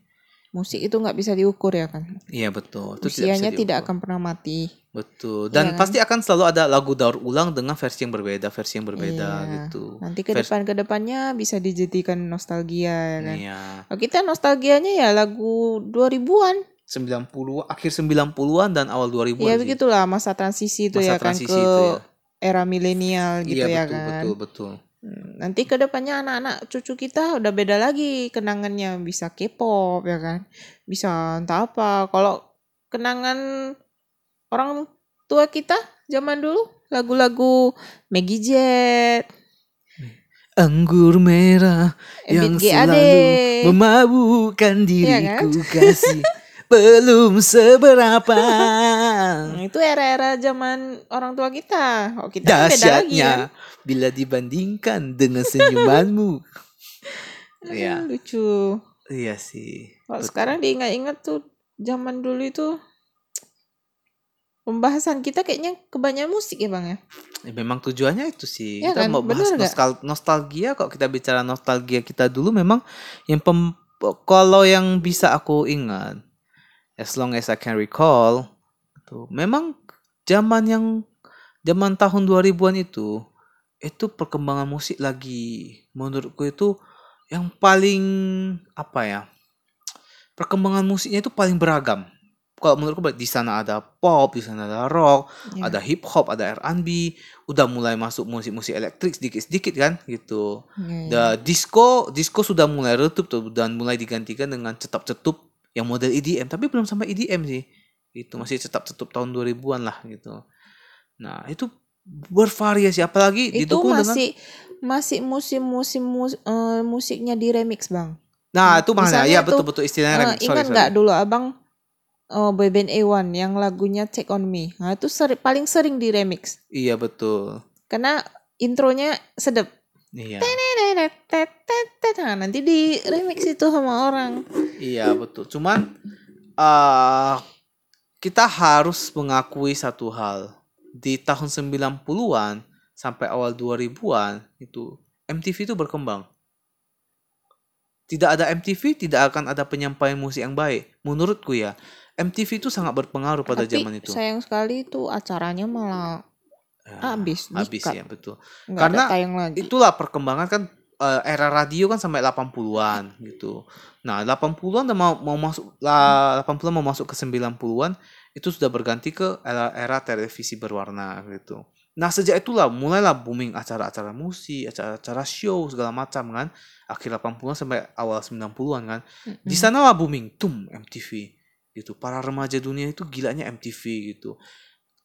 Musik itu nggak bisa diukur ya kan. iya betul Itu bisa Usianya tidak, diukur. akan pernah mati. betul Iya dan kan? pasti akan selalu ada lagu daur ulang dengan versi yang berbeda versi yang berbeda Iya. gitu Nanti ke Vers- depan ke depannya bisa dijadikan nostalgia ya kan. iya Nah, kita nostalgianya ya lagu 2000-an. 90 akhir 90-an dan awal 2000-an. Ya sih. begitulah masa transisi itu Masa ya kan transisi ke itu ya. era milenial gitu iya, ya betul, kan. betul, betul. Hmm, Nanti ke depannya anak-anak cucu kita udah beda lagi kenangannya bisa K-pop ya kan. Bisa entah apa. Kalau kenangan orang tua kita zaman dulu lagu-lagu Maggie Jet, Anggur merah yang Ebit G selalu Eh, Ade. memabukkan Iya kan? diriku kasih belum seberapa Nah, itu era-era zaman orang tua kita. Kalau kita kan beda lagi kan. dahsyatnya bila dibandingkan dengan senyumanmu. Hmm, Iya, Lucu. iya sih. Kalau Betul. sekarang diingat-ingat tuh zaman dulu itu pembahasan kita kayaknya kebanyakan musik ya bang ya. Ya, memang tujuannya itu sih. Iya kita kan? mau bahas Bener nggak? nostal- nostalgia. Kalau kita bicara nostalgia kita dulu memang yang pem kalau yang bisa aku ingat as long as I can recall itu memang zaman yang zaman tahun 2000-an itu itu perkembangan musik lagi menurutku itu yang paling apa ya perkembangan musiknya itu paling beragam kalau menurutku di sana ada pop di sana ada rock Ya. ada hip hop, ada R&B, udah mulai masuk musik-musik elektrik sedikit-sedikit kan gitu. Ya, ya. Da disco, disco sudah mulai retup tuh dan mulai digantikan dengan cetup-cetup yang model EDM, tapi belum sampai EDM sih. Itu masih cetup-cetup tahun 2000-an lah gitu. Nah, itu bervariasi apalagi Itu didukung dengan masih masih musim-musim mus- eh, musiknya di remix bang. Nah, itu mana? misalnya Ya itu, betul-betul istilahnya Eh, remix. Sorry, ingat sorry. nggak dulu abang eh boy band A1 yang lagunya Check on Me? Nah itu seri- paling sering di remix Iya, betul. karena intronya sedep. Iya. Nah, nanti di remix itu sama orang. Iya betul. Cuman eh kita harus mengakui satu hal. Di tahun 90-an sampai awal 2000-an itu MTV itu berkembang. Tidak ada MTV tidak akan ada penyampaian musik yang baik menurutku ya. MTV itu sangat berpengaruh pada Tapi zaman itu. sayang sekali itu acaranya malah Ya, habis habis di-cut. ya betul. Nggak Karena ada tayang lagi Itulah perkembangan kan eh, era radio kan sampai 80-an gitu. Nah, 80-an dan mau mau masuk lah 80-an mau masuk ke 90-an itu sudah berganti ke era, era televisi berwarna gitu. Nah, sejak itulah mulailah booming acara-acara musik, acara-acara show segala macam kan. Akhir 80-an sampai awal 90-an kan. Mm-mm. Di sanalah booming tum MTV gitu. Para remaja dunia itu gilanya MTV gitu.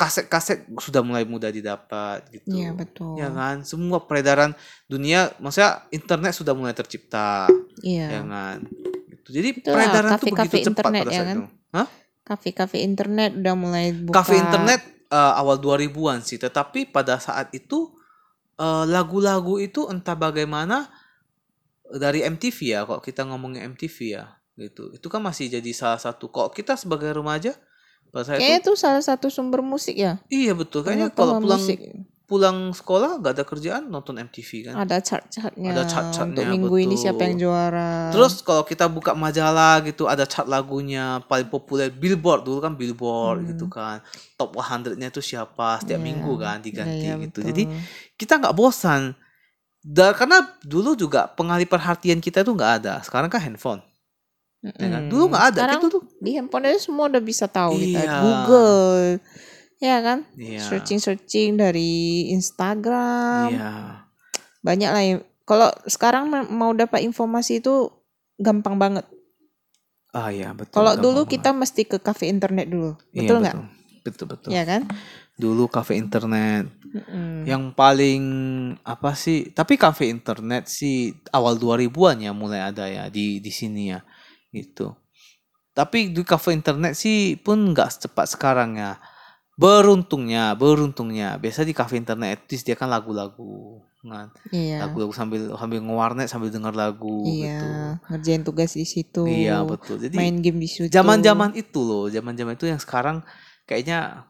Kaset-kaset sudah mulai mudah didapat gitu. Iya betul. Ya kan, semua peredaran dunia, maksudnya internet sudah mulai tercipta, Iya. ya kan. Gitu. Jadi Itulah, peredaran itu kafe-kafe begitu cepat internet, pada ya saat kan? itu. Hah? Kafe-kafe internet udah mulai buka. Kafe internet eh, awal 2000-an sih, tetapi pada saat itu eh, lagu-lagu itu entah bagaimana eh, dari MTV ya, kalau kita ngomongin MTV ya, gitu. Itu kan masih jadi salah satu kalau kita sebagai remaja pada saat Kayaknya itu itu salah satu sumber musik ya. iya betul kayaknya Pengetahuan kalau pulang musik. pulang sekolah gak ada kerjaan nonton MTV kan ada chart-chartnya. Ada chart-chartnya, Untuk minggu ini betul. siapa yang juara. Terus kalau kita buka majalah gitu ada chart lagunya paling populer Billboard dulu kan Billboard Hmm. gitu kan top 100-nya itu siapa setiap Iya. minggu kan diganti Iya, gitu. betul. Jadi kita nggak bosan. Dan karena dulu juga pengalih perhatian kita tuh nggak ada. Sekarang kan handphone. ya kan? Mm-mm. Dulu nggak ada Hmm. Sekarang itu tuh. di handphone aja semua udah bisa tahu kita. Iya. Google. Ya kan? Iya. Searching-searching dari Instagram. Iya. Banyak lah ya. Kalau sekarang ma- mau dapat informasi itu gampang banget. Ah iya betul. Kalau gampang dulu banget. kita mesti ke kafe internet dulu. Iya, Betul nggak? Betul betul. Ya kan? Dulu kafe internet Mm-mm. yang paling apa sih tapi kafe internet sih awal 2000-an ya mulai ada ya di di sini ya gitu tapi di kafe internet sih pun nggak secepat sekarang ya beruntungnya beruntungnya biasa di kafe internet itu disediakan lagu-lagu kan Iya. lagu-lagu sambil sambil ngewarnet sambil dengar lagu Iya, ngerjain tugas di gitu situ. iya betul jadi Main game di situ. zaman-zaman itu loh, zaman-zaman itu yang sekarang kayaknya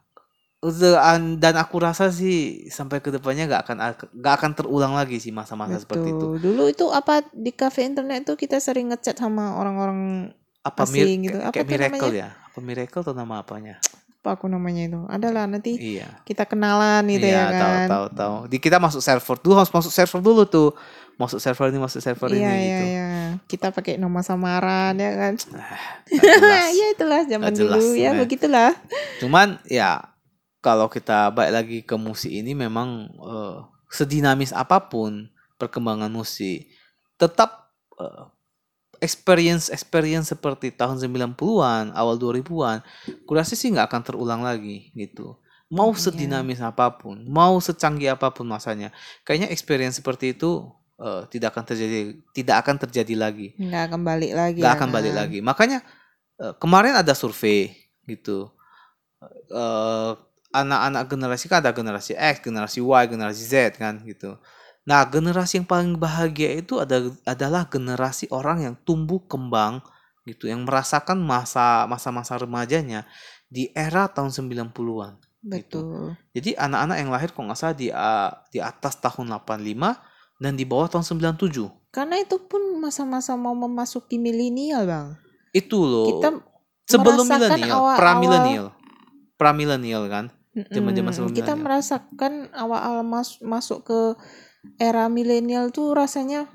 udah- an- dan aku rasa sih sampai kedepannya nggak akan nggak akan terulang lagi sih masa-masa seperti itu. Betul. Dulu itu apa di kafe internet tuh kita sering ngechat sama orang-orang Apa mir- Asing gitu. kayak- Apa kayak tuh miracle namanya? ya? Apa miracle atau nama apanya? apa aku namanya itu. Adalah nanti Iya. kita kenalan gitu iya, ya kan. tahu tahu tahu. Di kita masuk server dulu harus masuk server dulu tuh. Masuk server ini, masuk server Iya, ini iya, gitu. iya. Kita pakai nama samaran ya kan. Nggak jelas. ya itulah zaman Nggak jelas dulu ya sebenarnya. begitulah. Cuman ya kalau kita balik lagi ke musik ini memang eh, sedinamis apapun perkembangan musik tetap eh, experience experience seperti tahun 90-an, awal 2000-an kurasa sih nggak akan terulang lagi gitu. Mau Iya. sedinamis apapun, mau secanggih apapun masanya, kayaknya experience seperti itu eh, tidak akan terjadi tidak akan terjadi lagi Nggak akan balik lagi. nggak ya akan balik kan. lagi. gitu. Makanya eh, kemarin ada survei gitu. Eh, anak-anak generasi kan ada generasi X, generasi Y, generasi Z kan gitu. Nah, generasi yang paling bahagia itu ada adalah generasi orang yang tumbuh kembang gitu, yang merasakan masa masa-masa remajanya di era tahun 90-an. Betul. Jadi anak-anak yang lahir kok nggak salah di ah, di atas tahun 85 dan di bawah tahun 97. Karena itu pun masa-masa mau memasuki milenial, Bang. Itu loh. Kita sebelum merasakan milenial, awal-awal- pramilenial. Pramilenial kan? Zaman-zaman Mm-mm. sebelum kita milenial. merasakan awal-awal mas- masuk ke era milenial tuh rasanya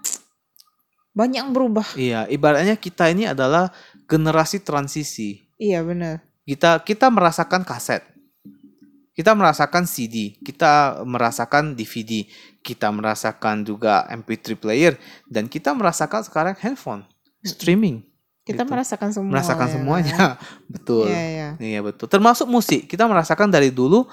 banyak yang berubah. Iya, ibaratnya kita ini adalah generasi transisi. Iya benar. Kita kita merasakan kaset. Kita merasakan CD, kita merasakan DVD, kita merasakan juga MP3 player dan kita merasakan sekarang handphone, streaming. Kita Gitu. merasakan semua. Merasakan ya semuanya. kan? Betul. Iya iya. Iya betul. Termasuk musik. Kita merasakan dari dulu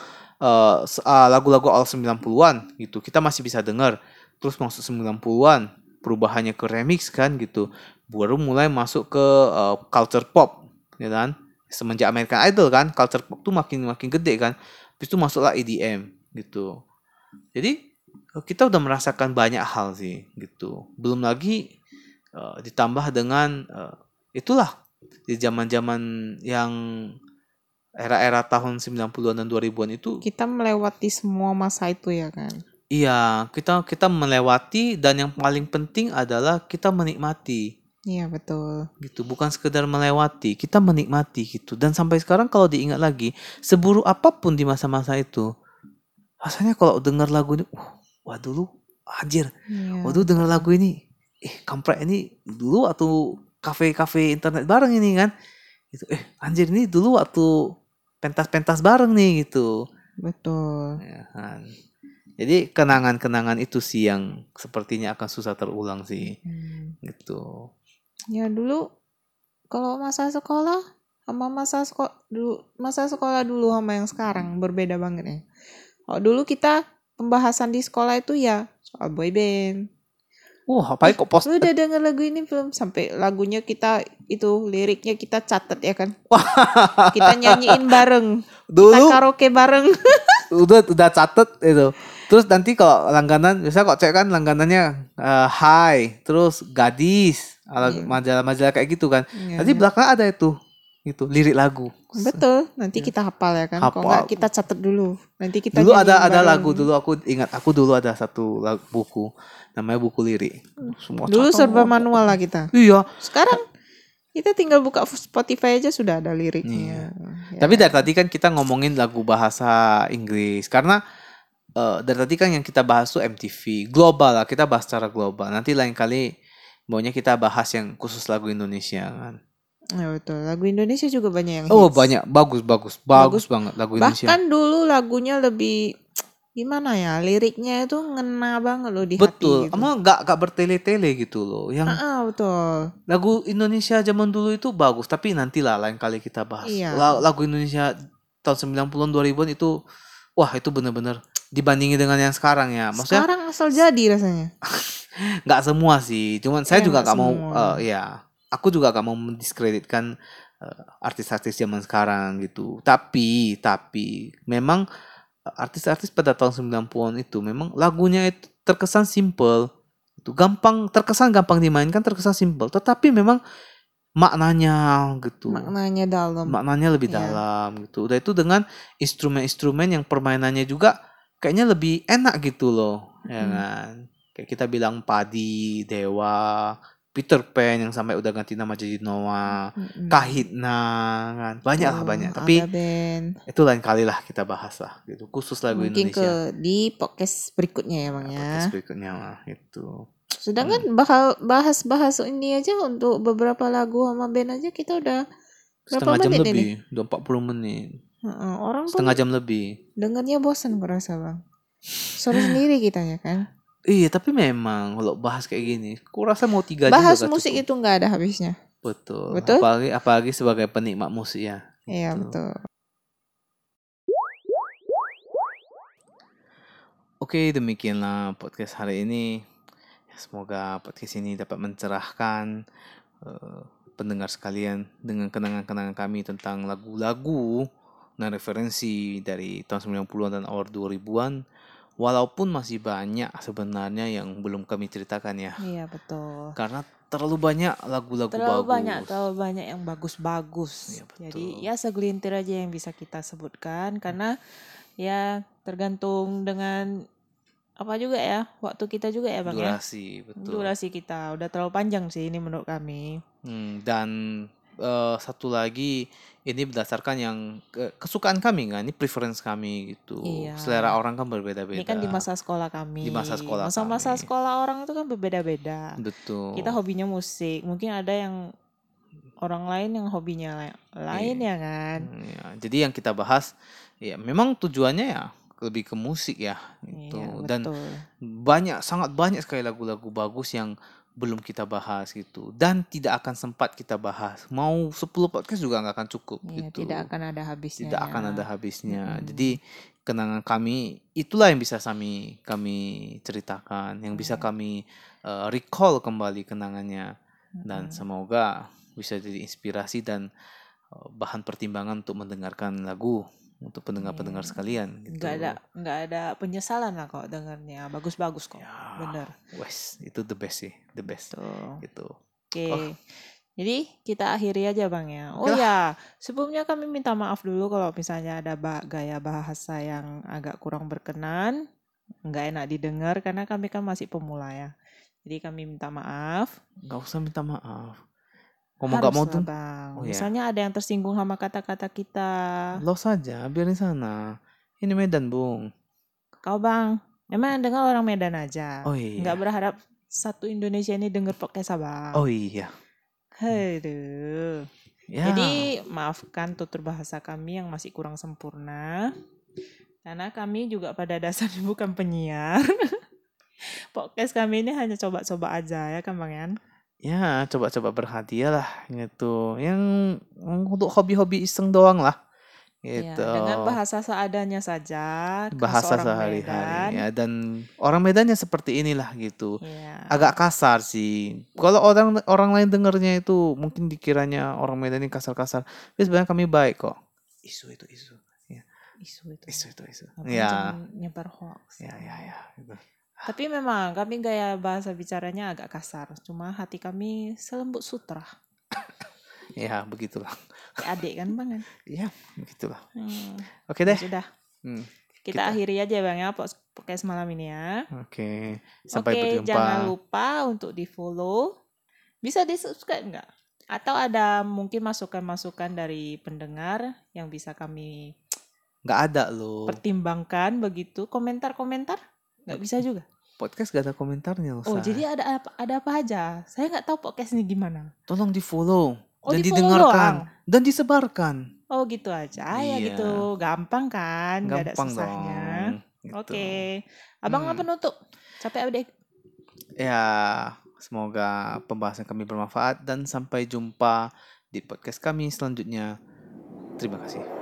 eh, s- eh, lagu-lagu awal 90-an gitu. Kita masih bisa dengar. Terus masuk 90-an, perubahannya ke remix kan gitu. Baru mulai masuk ke eh, culture pop, ya kan? Semenjak American Idol kan, culture pop tuh makin makin gede kan. Habis itu masuklah EDM gitu. Jadi eh, kita udah merasakan banyak hal sih gitu. Belum lagi eh, ditambah dengan eh, itulah di zaman-zaman yang era-era tahun 90-an dan 2000-an itu Kita melewati semua masa itu ya kan. Iya, kita kita melewati dan yang paling penting adalah kita menikmati Iya betul. gitu, bukan sekedar melewati, kita menikmati gitu. Dan sampai sekarang kalau diingat lagi, seburuk apapun di masa-masa itu, rasanya kalau dengar lagu ini, "Wah, wah dulu anjir, Iya. waduh dengar lagu ini, eh kampret ini dulu atau kafe-kafe internet bareng ini kan, gitu. Eh anjir ini dulu waktu pentas-pentas bareng nih gitu. Betul. Ya kan. Jadi kenangan-kenangan itu sih yang sepertinya akan susah terulang sih Hmm. gitu. Ya dulu kalau masa sekolah sama masa sekolah dulu masa sekolah dulu sama yang sekarang berbeda banget ya. Kalau dulu kita pembahasan di sekolah itu ya soal boyband. Wah, apa kok post? Lu udah denger lagu ini belum? Sampai lagunya kita itu liriknya kita catat ya kan. Kita nyanyiin bareng, kita Dulu karaoke bareng. udah udah catet itu. Terus nanti kalau langganan biasa kok cek kan langganannya eh, Hai, terus gadis, ala- Iya. majalah-majalah kayak gitu kan. Iya. Nanti belakang ada itu gitu lirik lagu. Betul, nanti Iya. kita hafal ya kan. Kalau Hafal. nggak kita catat dulu. Nanti kita dulu ada nyanyiin ada bareng. lagu dulu aku ingat aku dulu ada satu lagu, buku namanya buku lirik. Semua Hmm. Dulu catet, serba wah. manual lah kita. Iya, Sekarang kita tinggal buka Spotify aja sudah ada liriknya. Ya. Iya. Tapi dari tadi kan kita ngomongin lagu bahasa Inggris karena eh, dari tadi kan yang kita bahas tuh MTV global lah kita bahas secara global. Nanti lain kali maunya kita bahas yang khusus lagu Indonesia kan. Ya, betul. Lagu Indonesia juga banyak yang Oh hits. banyak bagus bagus bagus, banget lagu Indonesia. Bahkan dulu lagunya lebih gimana ya? Liriknya itu ngena banget loh di Betul, hati. gitu. emang nggak nggak bertele-tele gitu loh. Yang Ah, betul. lagu Indonesia zaman dulu itu bagus, tapi nantilah lain kali kita bahas. Iya. La- Lagu Indonesia tahun 90-an 2000-an itu wah itu bener-bener dibandingin dengan yang sekarang ya. Maksudnya Sekarang asal jadi rasanya. nggak semua sih cuman saya Iya, juga nggak nggak mau semua. eh, ya aku juga nggak mau mendiskreditkan eh, artis-artis zaman sekarang gitu tapi tapi memang eh, artis-artis pada tahun 90-an itu memang lagunya itu terkesan simple itu gampang terkesan gampang dimainkan terkesan simple tetapi memang maknanya gitu Maknanya dalam. maknanya lebih Iya. dalam gitu udah itu dengan instrumen-instrumen yang permainannya juga kayaknya lebih enak gitu loh ya Mm. kan kayak kita bilang padi dewa Peter Pan yang sampai udah ganti nama jadi Noah Mm-mm. Kahitna kan banyak lah Betul. banyak tapi Hmm. Oh, ada band. itu lain kali lah kita bahas lah gitu khusus lagu Mungkin ke Indonesia di podcast berikutnya ya Bang ya. podcast Hmm. berikutnya lah gitu. itu Sedangkan bakal bahas-bahas ini aja untuk beberapa lagu sama band aja kita udah setengah berapa jam menit ini? lebih udah 40 menit Heeh, orang pun setengah jam lebih dengarnya bosan kurasa bang. Sore sendiri kita ya kan. iya tapi memang kalau bahas kayak gini kurasa mau tiga jam Bahas juga musik cukup. itu nggak ada habisnya. Betul. Betul? Apalagi apalagi sebagai penikmat musik ya. Iya Betul. betul. Oke, demikianlah podcast hari ini. Semoga podcast ini dapat mencerahkan eh, pendengar sekalian dengan kenangan-kenangan kami tentang lagu-lagu dan referensi dari tahun 90-an dan awal 2000-an. Walaupun masih banyak sebenarnya yang belum kami ceritakan ya. Iya betul. Karena terlalu banyak lagu-lagu Terlalu bagus. banyak, terlalu banyak yang bagus-bagus. Iya, betul. Hmm. Jadi ya segelintir aja yang bisa kita sebutkan karena ya tergantung dengan apa juga ya waktu kita juga ya bang ya. Durasi, betul. Durasi kita udah terlalu panjang sih ini menurut kami. Hmm, dan eh, satu lagi ini berdasarkan yang ke- kesukaan kami kan, ini preference kami gitu. Iya. Selera orang kan berbeda-beda. Ini kan di masa sekolah kami. Di masa sekolah Masa-masa kami. sekolah orang itu kan berbeda-beda. betul. Kita hobinya musik, mungkin ada yang orang lain yang hobinya la- lain ya kan. Hmm, ya. Jadi yang kita bahas ya memang tujuannya ya lebih ke musik ya gitu. Iya, dan betul. banyak sangat banyak sekali lagu-lagu bagus yang belum kita bahas gitu dan tidak akan sempat kita bahas. Mau 10 podcast juga nggak akan cukup Iya, gitu. tidak akan ada habisnya. tidak ya. akan ada habisnya. Mm-mm. Jadi kenangan kami itulah yang bisa kami kami ceritakan, yang bisa Iya. kami eh, recall kembali kenangannya dan Mm-mm. semoga bisa jadi inspirasi dan eh, bahan pertimbangan untuk mendengarkan lagu untuk pendengar-pendengar Iya. sekalian gitu. nggak ada nggak ada penyesalan lah kok dengarnya. Bagus-bagus kok. Ya, Bener. wes, itu the best sih, the best Tuh. gitu. Oke. Oh. Jadi kita akhiri aja Bang ya. Oh Oke ya, sebelumnya kami minta maaf dulu kalau misalnya ada ba- gaya bahasa yang agak kurang berkenan. nggak enak didengar karena kami kan masih pemula ya. Jadi kami minta maaf. nggak usah minta maaf ngomong nggak mau harus tuh abang. Oh, iya. Misalnya ada yang tersinggung sama kata-kata kita. lo saja biarin sana ini Medan bung Kau bang, emang yang dengar orang Medan aja. oh iya Nggak berharap satu Indonesia ini denger podcast abang. oh iya Hmm. Aduh. ya Jadi maafkan tutur bahasa kami yang masih kurang sempurna. Karena kami juga pada dasarnya bukan penyiar. Podcast kami ini hanya coba-coba aja ya kan Bang Yan? ya coba-coba berhadiah lah gitu yang untuk hobi-hobi iseng doang lah Ya, gitu dengan bahasa seadanya saja. khas bahasa orang Medan. sehari-hari ya dan orang Medannya seperti inilah gitu Iya. agak kasar sih. Kalau orang orang lain dengernya itu mungkin dikiranya orang Medan ini kasar-kasar. Tapi sebenarnya kami baik kok. Isu itu isu. Isu itu. Isu itu isu. Apa, Ya. jangan nyebar hoax. Ya ya ya. gitu. Tapi memang kami gaya bahasa bicaranya agak kasar. Cuma hati kami selembut sutra. Ya begitulah. Kayak adik kan Bang Yan? Ya begitulah. Hmm, Oke deh. Sudah. Hmm, Kita- Kita, akhiri aja Bang ya podcast malam ini ya. Oke. Sampai Oke, berjumpa. jangan lupa untuk di follow. Bisa di subscribe nggak? Atau ada mungkin masukan-masukan dari pendengar yang bisa kami Nggak ada loh. pertimbangkan begitu? Komentar-komentar nggak bisa juga. Podcast gak ada komentarnya loh. Sar. Oh, jadi ada apa, ada apa aja? Saya nggak tahu podcast ini gimana. tolong di follow Oh, dan di-follow didengarkan doang. dan disebarkan. Oh, gitu aja ya Iya. gitu. Gampang kan? Nggak ada Gampang dong. susahnya. Gitu. Oke. Abang apa Hmm. penutup? Capek udah Ya, semoga pembahasan kami bermanfaat dan sampai jumpa di podcast kami selanjutnya. Terima kasih.